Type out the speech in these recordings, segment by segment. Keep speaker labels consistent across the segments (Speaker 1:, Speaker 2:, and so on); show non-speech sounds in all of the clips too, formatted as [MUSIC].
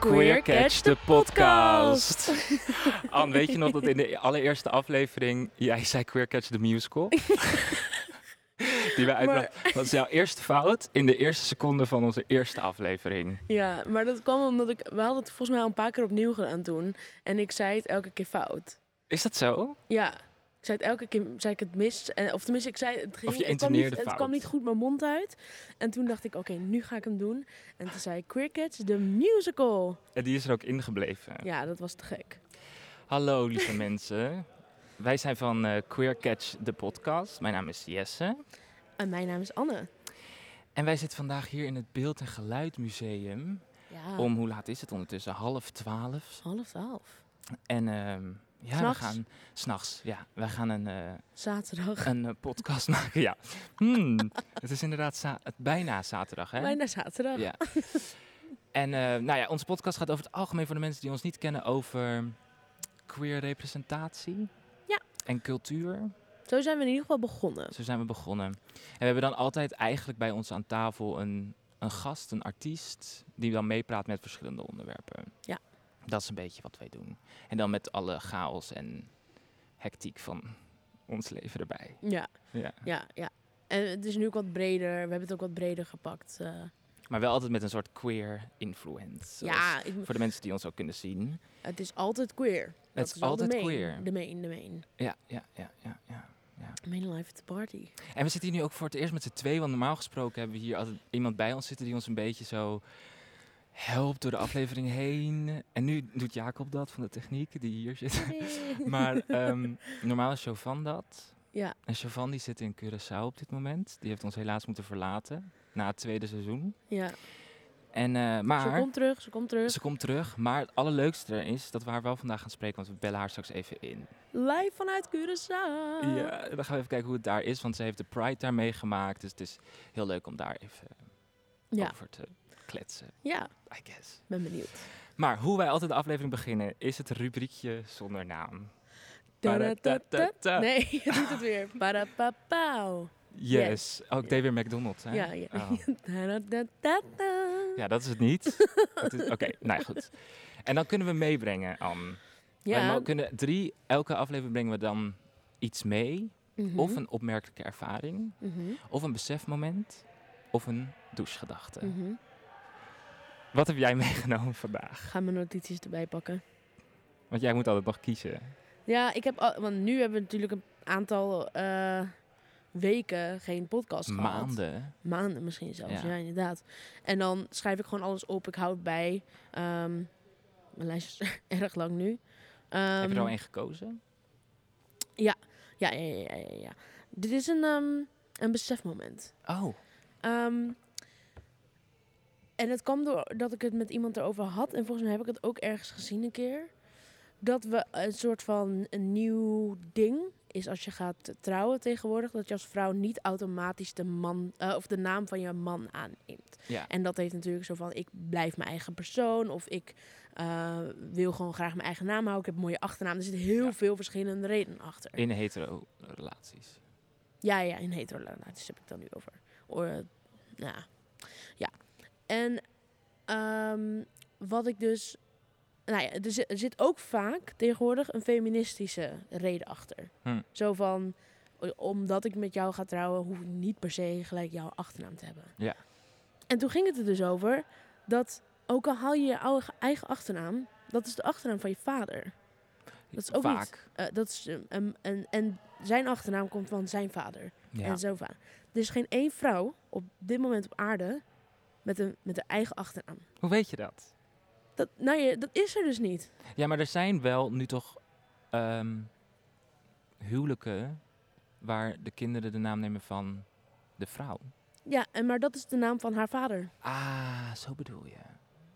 Speaker 1: Queer Catch de podcast. Anne, weet je nog dat in de allereerste aflevering jij zei Queer Catch the
Speaker 2: [LAUGHS]
Speaker 1: Musical? Die wij uitbrachten. Dat is jouw eerste fout in de eerste seconde van onze eerste aflevering.
Speaker 2: Ja, maar dat kwam omdat ik... We hadden het volgens mij al een paar keer opnieuw gedaan toen. En ik zei het elke keer fout.
Speaker 1: Is dat zo?
Speaker 2: Ja. Ik zei het elke keer, zei ik het mis. En, of tenminste, ik zei het ging...
Speaker 1: Of je
Speaker 2: het kwam, niet,
Speaker 1: intoneerde
Speaker 2: het
Speaker 1: fout.
Speaker 2: kwam niet goed mijn mond uit. En toen dacht ik, oké, nu ga ik hem doen. En toen zei ik Queer Catch the Musical.
Speaker 1: En die is er ook ingebleven.
Speaker 2: Ja, dat was te gek.
Speaker 1: Hallo lieve [LAUGHS] mensen. Wij zijn van eh, Queer Catch de podcast. Mijn naam is Jesse.
Speaker 2: En mijn naam is Anne.
Speaker 1: En wij zitten vandaag hier in het Beeld en Geluid Museum.
Speaker 2: Ja,
Speaker 1: Om, hoe laat is het ondertussen? Half twaalf.
Speaker 2: half twaalf.
Speaker 1: En ehm ja,
Speaker 2: S'nachts?
Speaker 1: we gaan... S'nachts, ja. We gaan een... eh,
Speaker 2: Zaterdag.
Speaker 1: een eh, podcast [LAUGHS] maken. Ja. Hmm, het is inderdaad za- het- bijna zaterdag, hè?
Speaker 2: Bijna zaterdag.
Speaker 1: Ja. En eh, nou ja, onze podcast gaat over het algemeen voor de mensen die ons niet kennen over queer representatie.
Speaker 2: Ja.
Speaker 1: En cultuur.
Speaker 2: Zo zijn we in ieder geval begonnen.
Speaker 1: Zo zijn we begonnen. En we hebben dan altijd eigenlijk bij ons aan tafel een, een gast, een artiest, die dan meepraat met verschillende onderwerpen.
Speaker 2: Ja.
Speaker 1: Dat is een beetje wat wij doen. En dan met alle chaos en hectiek van ons leven erbij.
Speaker 2: Ja,
Speaker 1: Ja.
Speaker 2: ja, ja. En het is nu ook wat breder. We hebben het ook wat breder gepakt. eh.
Speaker 1: Maar wel altijd met een soort queer influence. zoals-
Speaker 2: ja, ik-
Speaker 1: Voor de mensen die ons ook kunnen zien.
Speaker 2: het is altijd queer. Dat
Speaker 1: het is
Speaker 2: wel
Speaker 1: altijd
Speaker 2: de main,
Speaker 1: queer.
Speaker 2: De main, de main.
Speaker 1: Ja, ja, ja, ja, ja.
Speaker 2: Main life at the
Speaker 1: [LAUGHS]
Speaker 2: party.
Speaker 1: En we zitten hier nu ook voor het eerst met z'n twee. Want normaal gesproken hebben we hier altijd iemand bij ons zitten die ons een beetje zo helpt door de aflevering heen. En nu doet Jacob dat van de techniek, die hier zit. [LAUGHS] Maar ehm, normaal is Chauvin dat.
Speaker 2: Ja.
Speaker 1: En Chauvin die zit in Curaçao op dit moment. Die heeft ons helaas moeten verlaten na het tweede seizoen.
Speaker 2: ja.
Speaker 1: En, eh,
Speaker 2: Ze
Speaker 1: maar...
Speaker 2: komt terug, ze komt terug.
Speaker 1: Ze komt terug, maar het allerleukste er is dat we haar wel vandaag gaan spreken, want we bellen haar straks even in.
Speaker 2: Live vanuit Curaçao.
Speaker 1: Ja, en dan gaan we even kijken hoe het daar is, want ze heeft de Pride daar meegemaakt, dus het is heel leuk om daar even
Speaker 2: Ja,
Speaker 1: over te kletsen,
Speaker 2: ja,
Speaker 1: I guess.
Speaker 2: ben benieuwd.
Speaker 1: Maar hoe wij altijd de aflevering beginnen, is het rubriekje zonder naam. Paratata.
Speaker 2: Nee, [LAUGHS] je doet het weer. Parapapau.
Speaker 1: Yes. Oh, ik deed weer McDonald's, hè?
Speaker 2: Ja, ja.
Speaker 1: Oh.
Speaker 2: [LAUGHS] Taratata.
Speaker 1: Ja, dat is het niet.
Speaker 2: [LAUGHS]
Speaker 1: Dat is- Oké, nou ja, goed. En dan kunnen we meebrengen, Anne. Wij
Speaker 2: Ja.
Speaker 1: mo- kunnen drie, elke aflevering brengen we dan iets mee.
Speaker 2: Mhm,
Speaker 1: Of een opmerkelijke ervaring,
Speaker 2: mhm,
Speaker 1: of een besefmoment, of een douchegedachte.
Speaker 2: mhm.
Speaker 1: Wat heb jij [LAUGHS] meegenomen vandaag?
Speaker 2: Ga mijn notities erbij pakken.
Speaker 1: Want jij moet altijd nog kiezen.
Speaker 2: Ja, ik heb al, want nu hebben we natuurlijk een aantal eh, weken geen podcast gehad.
Speaker 1: Maanden.
Speaker 2: Maanden misschien zelfs,
Speaker 1: Ja.
Speaker 2: ja. inderdaad. En dan schrijf ik gewoon alles op, ik hou het bij. Ehm, mijn lijst is [LAUGHS] erg lang nu.
Speaker 1: heb je
Speaker 2: Ehm,
Speaker 1: er al één gekozen?
Speaker 2: Ja, ja, ja, ja, ja, ja. Dit is een, ehm, een besefmoment.
Speaker 1: Oh.
Speaker 2: Ehm, en het kwam doordat ik het met iemand erover had. En volgens mij heb ik het ook ergens gezien een keer. Dat we een soort van een nieuw ding is als je gaat trouwen tegenwoordig. Dat je als vrouw niet automatisch de, man, eh, of de naam van je man aanneemt.
Speaker 1: Ja.
Speaker 2: En dat heeft natuurlijk zo van ik blijf mijn eigen persoon. Of ik eh, wil gewoon graag mijn eigen naam houden. Ik heb een mooie achternaam. Er zitten heel
Speaker 1: Ja.
Speaker 2: veel verschillende redenen achter.
Speaker 1: In hetero relaties.
Speaker 2: Ja, ja, in heterorelaties heb ik het dan nu over. Or, eh, ja. ja. En ehm, wat ik dus... Nou ja, er zit, er zit ook vaak tegenwoordig een feministische reden achter.
Speaker 1: Hm.
Speaker 2: Zo van, o- omdat ik met jou ga trouwen, hoef ik niet per se gelijk jouw achternaam te hebben.
Speaker 1: Ja.
Speaker 2: En toen ging het er dus over dat, ook al haal je je oude, eigen achternaam, dat is de achternaam van je vader. Dat is ook niet-
Speaker 1: Vaak.
Speaker 2: Eh, dat is, eh, een- een- en zijn achternaam komt van zijn vader
Speaker 1: Ja.
Speaker 2: en zo vaak. Er is geen één vrouw op dit moment op aarde met een met haar eigen achternaam.
Speaker 1: Hoe weet je dat?
Speaker 2: Dat, nou ja, dat is er dus niet.
Speaker 1: Ja, maar er zijn wel nu toch ehm, huwelijken waar de kinderen de naam nemen van de vrouw.
Speaker 2: Ja, en maar dat is de naam van haar vader.
Speaker 1: Ah, zo bedoel je.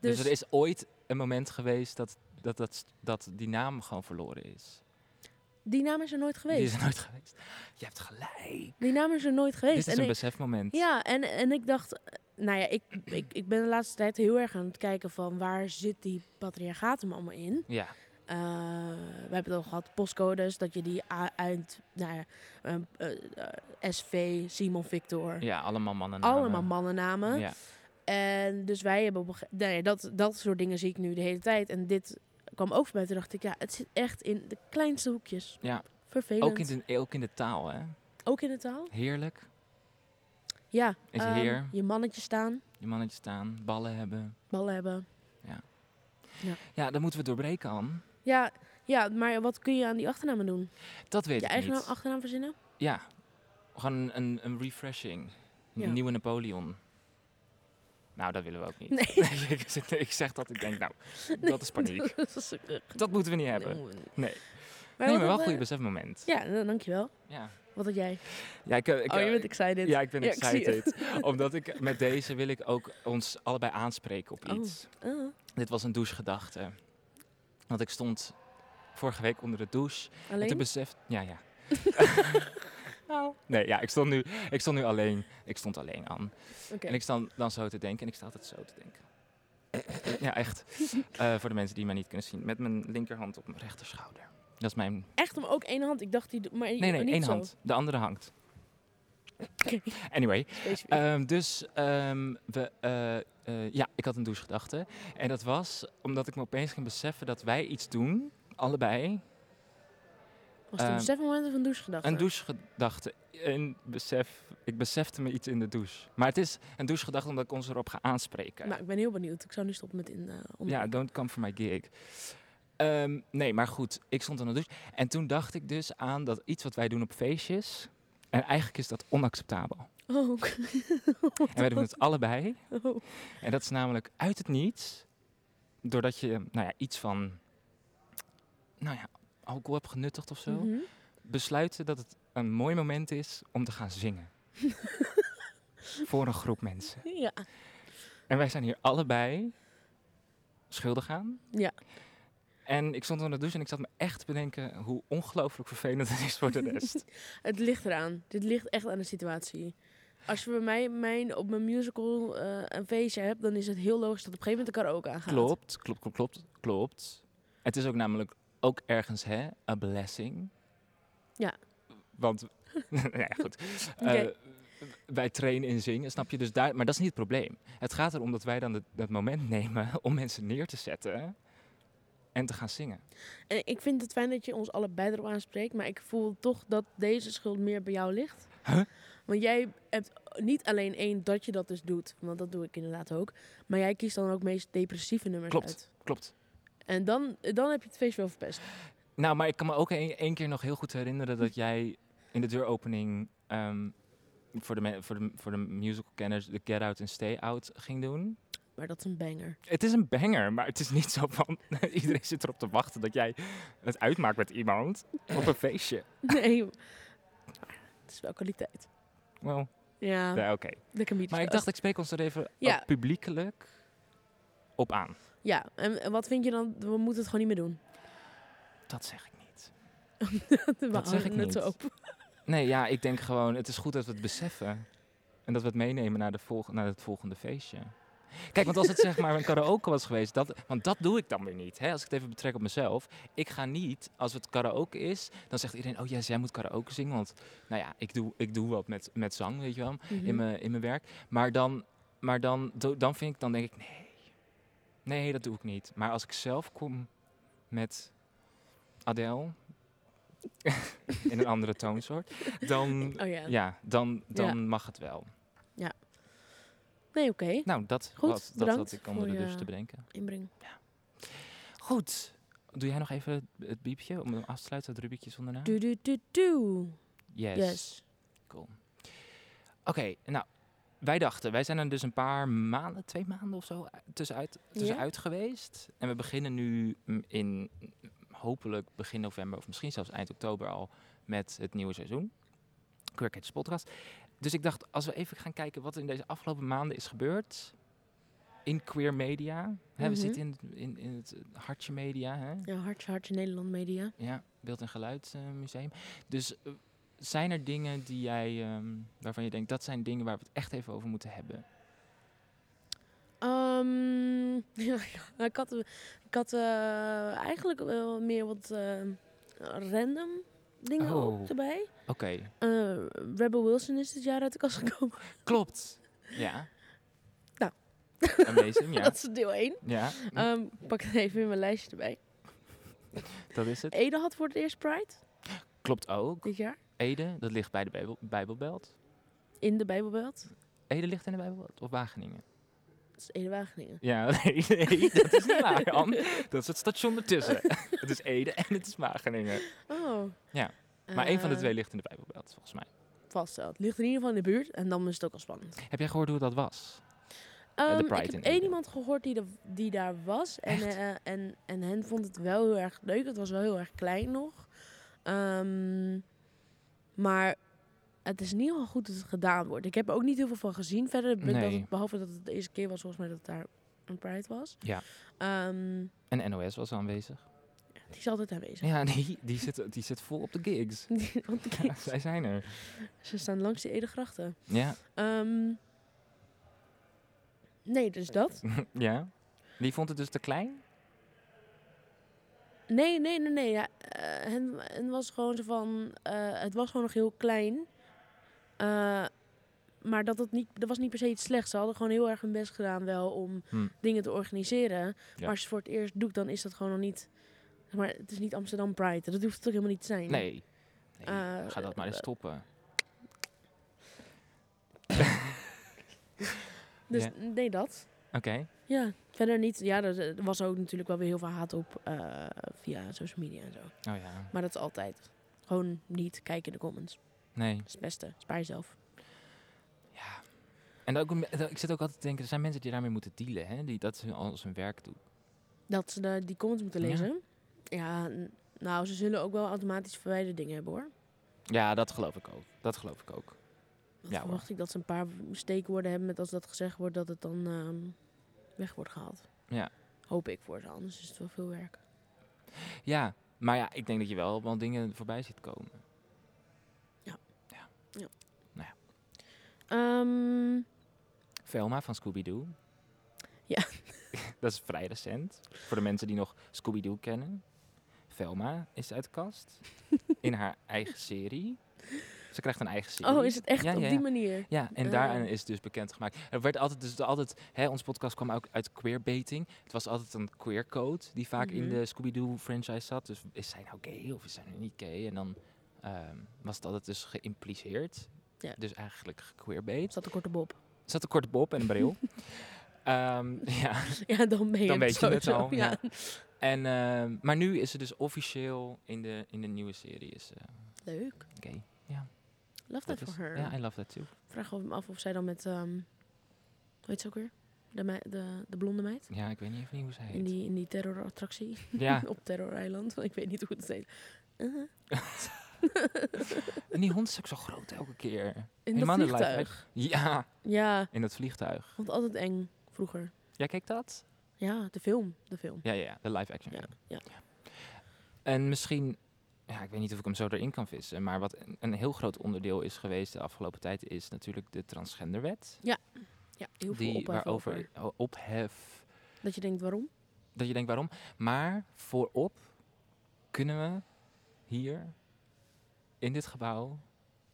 Speaker 1: Dus,
Speaker 2: Dus,
Speaker 1: er is ooit een moment geweest dat, dat, dat, dat die naam gewoon verloren is.
Speaker 2: Die naam is er nooit geweest.
Speaker 1: Die is er nooit geweest. Je hebt gelijk.
Speaker 2: Die naam is er nooit geweest.
Speaker 1: Dit is
Speaker 2: En
Speaker 1: een
Speaker 2: ik-
Speaker 1: besefmoment.
Speaker 2: Ja, en, en ik dacht, eh, nou ja, ik, ik, ik ben de laatste tijd heel erg aan het kijken van waar zit die patriarchaat hem allemaal in.
Speaker 1: Ja.
Speaker 2: Eh, we hebben het al gehad, postcodes, dat je die a- uit, nou ja, ehm, eh, eh, SV, Simon Victor,
Speaker 1: Ja, allemaal mannen.
Speaker 2: allemaal mannennamen.
Speaker 1: Ja.
Speaker 2: En dus wij hebben op een gege- nou ja, dat, dat soort dingen zie ik nu de hele tijd. En dit kwam ook voorbij, toen dacht ik, ja, het zit echt in de kleinste hoekjes.
Speaker 1: Ja.
Speaker 2: Vervelend.
Speaker 1: Ook, in de, ook in de taal, hè?
Speaker 2: Ook in de taal.
Speaker 1: Heerlijk.
Speaker 2: Ja.
Speaker 1: Is
Speaker 2: ehm,
Speaker 1: heer.
Speaker 2: Je mannetje staan,
Speaker 1: Je mannetje staan, ballen hebben.
Speaker 2: ballen hebben.
Speaker 1: Ja, dat moeten we doorbreken, Anne.
Speaker 2: Ja, ja, maar wat kun je aan die achternamen doen?
Speaker 1: Dat weet
Speaker 2: Je
Speaker 1: ik
Speaker 2: eigen
Speaker 1: niet.
Speaker 2: achternaam verzinnen? [LAUGHS]
Speaker 1: Ja. Gewoon een, een refreshing. Een
Speaker 2: Ja.
Speaker 1: nieuwe Napoleon. Nou, dat willen we ook niet. [LAUGHS]
Speaker 2: Nee.
Speaker 1: ik, zeg- ik zeg dat, ik denk, nou, dat is
Speaker 2: [LAUGHS]
Speaker 1: paniek.
Speaker 2: dat is ook echt-
Speaker 1: Dat moeten we niet hebben.
Speaker 2: Nee, moet niet.
Speaker 1: Nee.
Speaker 2: Maar wat
Speaker 1: nee, maar wel
Speaker 2: had,
Speaker 1: een goed
Speaker 2: eh,
Speaker 1: besefmoment.
Speaker 2: Ja, nou, dankjewel.
Speaker 1: Ja.
Speaker 2: Wat had jij?
Speaker 1: Ja, ik, eh, ik,
Speaker 2: oh, je
Speaker 1: eh,
Speaker 2: bent excited.
Speaker 1: ja, ik ben
Speaker 2: Ja, ik zie
Speaker 1: excited.
Speaker 2: [LAUGHS]
Speaker 1: Omdat ik met deze wil ik ook ons allebei aanspreken op
Speaker 2: Oh.
Speaker 1: iets.
Speaker 2: Ah,
Speaker 1: Dit was een douchegedachte. Want ik stond vorige week onder de douche. En
Speaker 2: alleen?
Speaker 1: toen besefte... Ja,
Speaker 2: [LAUGHS]
Speaker 1: ja. [LAUGHS] Nou, Nee, ja, ik stond, nu, ik stond nu alleen. Ik stond alleen aan.
Speaker 2: Oké.
Speaker 1: En ik sta dan zo te denken. En ik sta altijd zo te denken. eh, ja,
Speaker 2: [LAUGHS]
Speaker 1: echt. Eh, voor de mensen die mij niet kunnen zien. Met mijn linkerhand op mijn rechterschouder. Dat is mijn
Speaker 2: Echt om ook één hand. Ik dacht die... do- Maar
Speaker 1: Nee, nee,
Speaker 2: niet
Speaker 1: één Eh,
Speaker 2: zo.
Speaker 1: hand. De andere hangt.
Speaker 2: [LAUGHS] Oké.
Speaker 1: Anyway,
Speaker 2: Specifiek.
Speaker 1: ehm, dus ehm, we, eh, eh, ja, ik had een douchegedachte. En dat was omdat ik me opeens ging beseffen dat wij iets doen, allebei.
Speaker 2: Was het een
Speaker 1: ehm,
Speaker 2: besefmoment of een douchegedachte?
Speaker 1: Een douchegedachte. Een besef, ik besefte me iets in de douche. Maar het is een douchegedachte omdat ik ons erop ga aanspreken.
Speaker 2: Nou, ik ben heel benieuwd. Ik zou nu stoppen met in... eh, om-
Speaker 1: Ja, don't come for my gig. Ehm, nee, maar goed, ik stond aan de douche. En toen dacht ik dus aan dat iets wat wij doen op feestjes. En eigenlijk is dat
Speaker 2: [LAUGHS]
Speaker 1: onacceptabel.
Speaker 2: Oh,
Speaker 1: En wij doen het allebei.
Speaker 2: oh.
Speaker 1: En dat is namelijk uit het niets, doordat je nou ja, iets van nou ja, alcohol hebt genuttigd of zo,
Speaker 2: Mhm.
Speaker 1: besluiten dat het een mooi moment is om te gaan
Speaker 2: [LAUGHS]
Speaker 1: zingen. Voor een groep mensen.
Speaker 2: Ja.
Speaker 1: En wij zijn hier allebei schuldig aan.
Speaker 2: Ja.
Speaker 1: En ik stond onder de douche en ik zat me echt te bedenken hoe ongelooflijk vervelend het is voor de rest.
Speaker 2: Het ligt eraan. Dit ligt echt aan de situatie. Als je bij mij mijn, op mijn musical eh, een feestje hebt, dan is het heel logisch dat op een gegeven moment de karaoke aangaat.
Speaker 1: Klopt, klopt, klopt, klopt, klopt. Het is ook namelijk ook ergens, hè, a blessing.
Speaker 2: Ja.
Speaker 1: Want, [LAUGHS] nou ja, goed.
Speaker 2: [LAUGHS]
Speaker 1: Eh,
Speaker 2: Oké.
Speaker 1: wij trainen in zingen, snap je? Dus daar, maar dat is niet het probleem. Het gaat erom dat wij dan het- dat moment [LAUGHS] nemen om mensen neer te zetten en te gaan zingen.
Speaker 2: En ik vind het fijn dat je ons allebei erop aanspreekt, maar ik voel toch dat deze schuld meer bij jou ligt.
Speaker 1: Huh?
Speaker 2: Want jij hebt niet alleen één dat je dat dus doet, want dat doe ik inderdaad ook, maar jij kiest dan ook meest depressieve nummers
Speaker 1: Klopt.
Speaker 2: uit.
Speaker 1: Klopt.
Speaker 2: En dan, dan heb je het feest wel verpest.
Speaker 1: Nou, maar ik kan me ook één één keer nog heel goed herinneren
Speaker 2: Hm.
Speaker 1: dat jij in de deuropening ehm, voor, de, me- voor, de, voor de musical kenners de Get Out en Stay Out ging doen.
Speaker 2: Maar dat is een banger.
Speaker 1: Het is een banger, maar het is niet zo van... [LAUGHS] Iedereen zit erop te wachten dat jij het uitmaakt met iemand op een feestje.
Speaker 2: [LAUGHS] Nee, maar het is wel kwaliteit.
Speaker 1: Wel,
Speaker 2: Ja,
Speaker 1: ja, oké.
Speaker 2: lekker
Speaker 1: Maar ik dacht, ik spreek ons er even
Speaker 2: Ja.
Speaker 1: ook publiekelijk op aan.
Speaker 2: Ja, en en wat vind je dan? We moeten het gewoon niet meer doen. [LAUGHS]
Speaker 1: Dat zeg ik niet.
Speaker 2: We
Speaker 1: Dat zeg ik
Speaker 2: houden het
Speaker 1: niet.
Speaker 2: zo open.
Speaker 1: Nee, ja, ik denk gewoon, het is goed dat we het beseffen. En dat we het meenemen naar, de volg- naar het volgende feestje. Kijk, want als het zeg maar een karaoke was geweest, dat, want dat doe ik dan weer niet. Hè? Als ik het even betrek op mezelf. Ik ga niet, als het karaoke is, dan zegt iedereen, oh yes, jij moet karaoke zingen. Want nou ja, ik doe, ik doe wat met, met zang, weet je wel. in
Speaker 2: Mhm.
Speaker 1: mijn, in mijn werk. Maar, dan, maar dan, do- dan vind ik, dan denk ik, nee. Nee, dat doe ik niet. Maar als ik zelf kom met Adele, [LAUGHS] in een andere toonsoort, dan,
Speaker 2: Oh ja.
Speaker 1: ja, dan, dan
Speaker 2: Ja.
Speaker 1: mag het wel.
Speaker 2: Nee, oké.
Speaker 1: Nou, dat,
Speaker 2: Goed,
Speaker 1: was, dat
Speaker 2: bedankt
Speaker 1: had ik onder
Speaker 2: voor
Speaker 1: de
Speaker 2: je-
Speaker 1: douche te bedenken.
Speaker 2: Inbreng.
Speaker 1: Goed. Doe jij nog even het- het biepje om hem af te sluiten, het rubiekje zonder naam?
Speaker 2: Du du du du.
Speaker 1: Yes.
Speaker 2: Yes.
Speaker 1: Cool. Oké, nou, wij dachten, wij zijn er dus een paar maanden, twee maanden of zo u- tussenuit, tussenuit geweest. En we beginnen nu mm, in mm, hopelijk begin november of misschien zelfs eind oktober al met het nieuwe seizoen. Queer Catch Podcast. Dus ik dacht, als we even gaan kijken wat er in deze afgelopen maanden is gebeurd, in queer media. Hè,
Speaker 2: Mhm.
Speaker 1: We zitten in, in, in het eh, hartje media. Hè?
Speaker 2: Ja, hartje, hartje Nederland media.
Speaker 1: Ja, beeld- en geluidsmuseum. dus eh, zijn er dingen die jij, ehm, waarvan je denkt, dat zijn dingen waar we het echt even over moeten hebben?
Speaker 2: Ehm, [LAUGHS] ja, ja, ik had, ik had eh, eigenlijk wel meer wat eh, random dingen
Speaker 1: Oh.
Speaker 2: ook erbij.
Speaker 1: Oké,
Speaker 2: Eh, Rebel Wilson is dit jaar uit de kast gekomen. [LAUGHS]
Speaker 1: klopt. Ja.
Speaker 2: Nou.
Speaker 1: Amazing,
Speaker 2: [LAUGHS]
Speaker 1: ja.
Speaker 2: Dat is Eh, deel 1.
Speaker 1: Ja,
Speaker 2: ik pak het even in mijn lijstje erbij.
Speaker 1: dat is het.
Speaker 2: Ede had voor het eerst Pride
Speaker 1: Klopt ook.
Speaker 2: dit jaar.
Speaker 1: Ede, dat ligt bij de Bijbel, Bijbelbelt.
Speaker 2: In de Bijbelbelt.
Speaker 1: Ede ligt in de Bijbelbelt, of Wageningen?
Speaker 2: Dat is Ede Wageningen.
Speaker 1: Ja, [LAUGHS] nee, nee, dat is niet waar, Anne. Dat is het station [LAUGHS] ertussen. het is Ede en het is Wageningen.
Speaker 2: Oh.
Speaker 1: Ja, Maar één van de
Speaker 2: Eh,
Speaker 1: twee ligt in de Bijbelbelt, volgens mij.
Speaker 2: Vast wel. Het ligt in ieder geval in de buurt en dan is het ook al spannend.
Speaker 1: Heb jij gehoord hoe dat was?
Speaker 2: Ehm,
Speaker 1: Pride
Speaker 2: ik
Speaker 1: in
Speaker 2: heb één
Speaker 1: Ede.
Speaker 2: iemand gehoord die, de- die daar was. En,
Speaker 1: Echt?
Speaker 2: eh, en, en hen vond het wel heel erg leuk. Het was wel heel erg klein nog. Ehm, maar het is in ieder geval goed dat het gedaan wordt. Ik heb er ook niet heel veel van gezien verder. be- dat
Speaker 1: Nee.
Speaker 2: het- behalve dat het de eerste keer was volgens mij dat het daar een Pride was.
Speaker 1: Ja.
Speaker 2: Ehm,
Speaker 1: En NOS was aanwezig.
Speaker 2: die is altijd [LAUGHS] aanwezig.
Speaker 1: [LAUGHS] Ja, die, die, zit, die zit vol op de [LAUGHS] gigs.
Speaker 2: Want de
Speaker 1: Ja,
Speaker 2: kids,
Speaker 1: zij zijn er.
Speaker 2: Ze staan langs de Edegrachten.
Speaker 1: Ja,
Speaker 2: Ehm nee, dus dat.
Speaker 1: [LAUGHS] ja. Die vond het dus te klein?
Speaker 2: Nee, nee, nee, nee. Ja, eh, hen, hen was gewoon zo van. eh, het was gewoon nog heel klein. Eh, maar dat, het niet, dat was niet per se iets slechts. Ze hadden gewoon heel erg hun best gedaan wel om
Speaker 1: Hm.
Speaker 2: dingen te organiseren.
Speaker 1: Ja.
Speaker 2: Maar als je het voor het eerst doet, dan is dat gewoon nog niet. zeg Maar het is niet Amsterdam Pride. Dat hoeft het ook helemaal niet te zijn.
Speaker 1: Nee. nee
Speaker 2: Eh,
Speaker 1: ga dat maar eens stoppen.
Speaker 2: Dus
Speaker 1: Ja.
Speaker 2: nee, dat.
Speaker 1: Oké.
Speaker 2: Ja, verder niet. Ja, er, er was ook natuurlijk wel weer heel veel haat op eh, via social media en zo.
Speaker 1: Oh ja.
Speaker 2: Maar dat is altijd. Gewoon niet kijken in de comments.
Speaker 1: Nee.
Speaker 2: Dat is het beste. Spaar jezelf.
Speaker 1: Ja. En ook, een- ik zit ook altijd te denken, er zijn mensen die daarmee moeten dealen. Hè? Die dat hun- als hun werk doen.
Speaker 2: Dat ze de- die comments moeten
Speaker 1: Ja.
Speaker 2: lezen. Ja. n- nou, ze zullen ook wel automatisch verwijderde dingen hebben hoor.
Speaker 1: Ja, dat geloof ik ook. Dat geloof ik ook.
Speaker 2: Dan
Speaker 1: Ja, hoor.
Speaker 2: verwacht ik dat ze een paar steekwoorden hebben met als dat gezegd wordt dat het dan ehm, weg wordt gehaald.
Speaker 1: Ja.
Speaker 2: Hoop ik voor ze, anders is het wel veel werk.
Speaker 1: Ja, maar ja, ik denk dat je wel wel dingen voorbij ziet komen.
Speaker 2: Ehm,
Speaker 1: Velma van Scooby-Doo.
Speaker 2: Ja.
Speaker 1: [LAUGHS] dat is vrij recent. Voor de mensen die nog Scooby-Doo kennen. Velma is uit de
Speaker 2: [LAUGHS]
Speaker 1: kast. in haar eigen serie. Ze krijgt een eigen serie.
Speaker 2: oh, is het echt
Speaker 1: Ja,
Speaker 2: op
Speaker 1: ja,
Speaker 2: die
Speaker 1: ja.
Speaker 2: manier?
Speaker 1: Ja, en
Speaker 2: Eh.
Speaker 1: daaraan is het dus bekendgemaakt. Er werd altijd, dus altijd hè, ons podcast kwam ook uit queerbaiting. Het was altijd een queercode die vaak in
Speaker 2: Mhm.
Speaker 1: de Scooby-Doo franchise zat. Dus is zij nou gay of is zij nou niet gay? En dan ehm, was het altijd dus geïmpliceerd.
Speaker 2: Ja.
Speaker 1: Dus eigenlijk gequeerbait.
Speaker 2: Is dat een korte bob? [LAUGHS]
Speaker 1: Er zat een korte bob en een bril. Ehm, ja.
Speaker 2: Ja, dan ben je
Speaker 1: Dan
Speaker 2: het
Speaker 1: weet je het
Speaker 2: sowieso,
Speaker 1: al, ja. En, ehm, maar nu is ze dus officieel in de, in de nieuwe serie is, eh,
Speaker 2: Leuk.
Speaker 1: gay.
Speaker 2: Love
Speaker 1: Dat
Speaker 2: that voor
Speaker 1: is-
Speaker 2: haar.
Speaker 1: Ja, I love that too.
Speaker 2: Vraag me af of zij dan met, ehm hoe heet ze ook weer? De, mei- de, de blonde meid?
Speaker 1: Ja, ik weet niet even hoe ze
Speaker 2: In
Speaker 1: heet.
Speaker 2: die, in die terrorattractie.
Speaker 1: Ja,
Speaker 2: [LAUGHS] op Terror Island. Ik weet niet hoe het heet. Uh,
Speaker 1: en die hond is ook zo groot elke keer.
Speaker 2: in dat
Speaker 1: Helemaal niet live
Speaker 2: vliegtuig.
Speaker 1: Ja,
Speaker 2: Ja,
Speaker 1: in dat vliegtuig.
Speaker 2: vond altijd eng vroeger.
Speaker 1: Jij keek dat?
Speaker 2: Ja, de film. De film.
Speaker 1: Ja, ja, ja, de live action.
Speaker 2: Ja, ja.
Speaker 1: En misschien, ja, ik weet niet of ik hem zo erin kan vissen, maar wat een, een heel groot onderdeel is geweest de afgelopen tijd is natuurlijk de transgenderwet.
Speaker 2: Ja, heel veel
Speaker 1: Die
Speaker 2: ophef
Speaker 1: waarover
Speaker 2: over.
Speaker 1: o- ophef,
Speaker 2: Dat je denkt, waarom?
Speaker 1: dat je denkt waarom. Maar voorop kunnen we hier in dit gebouw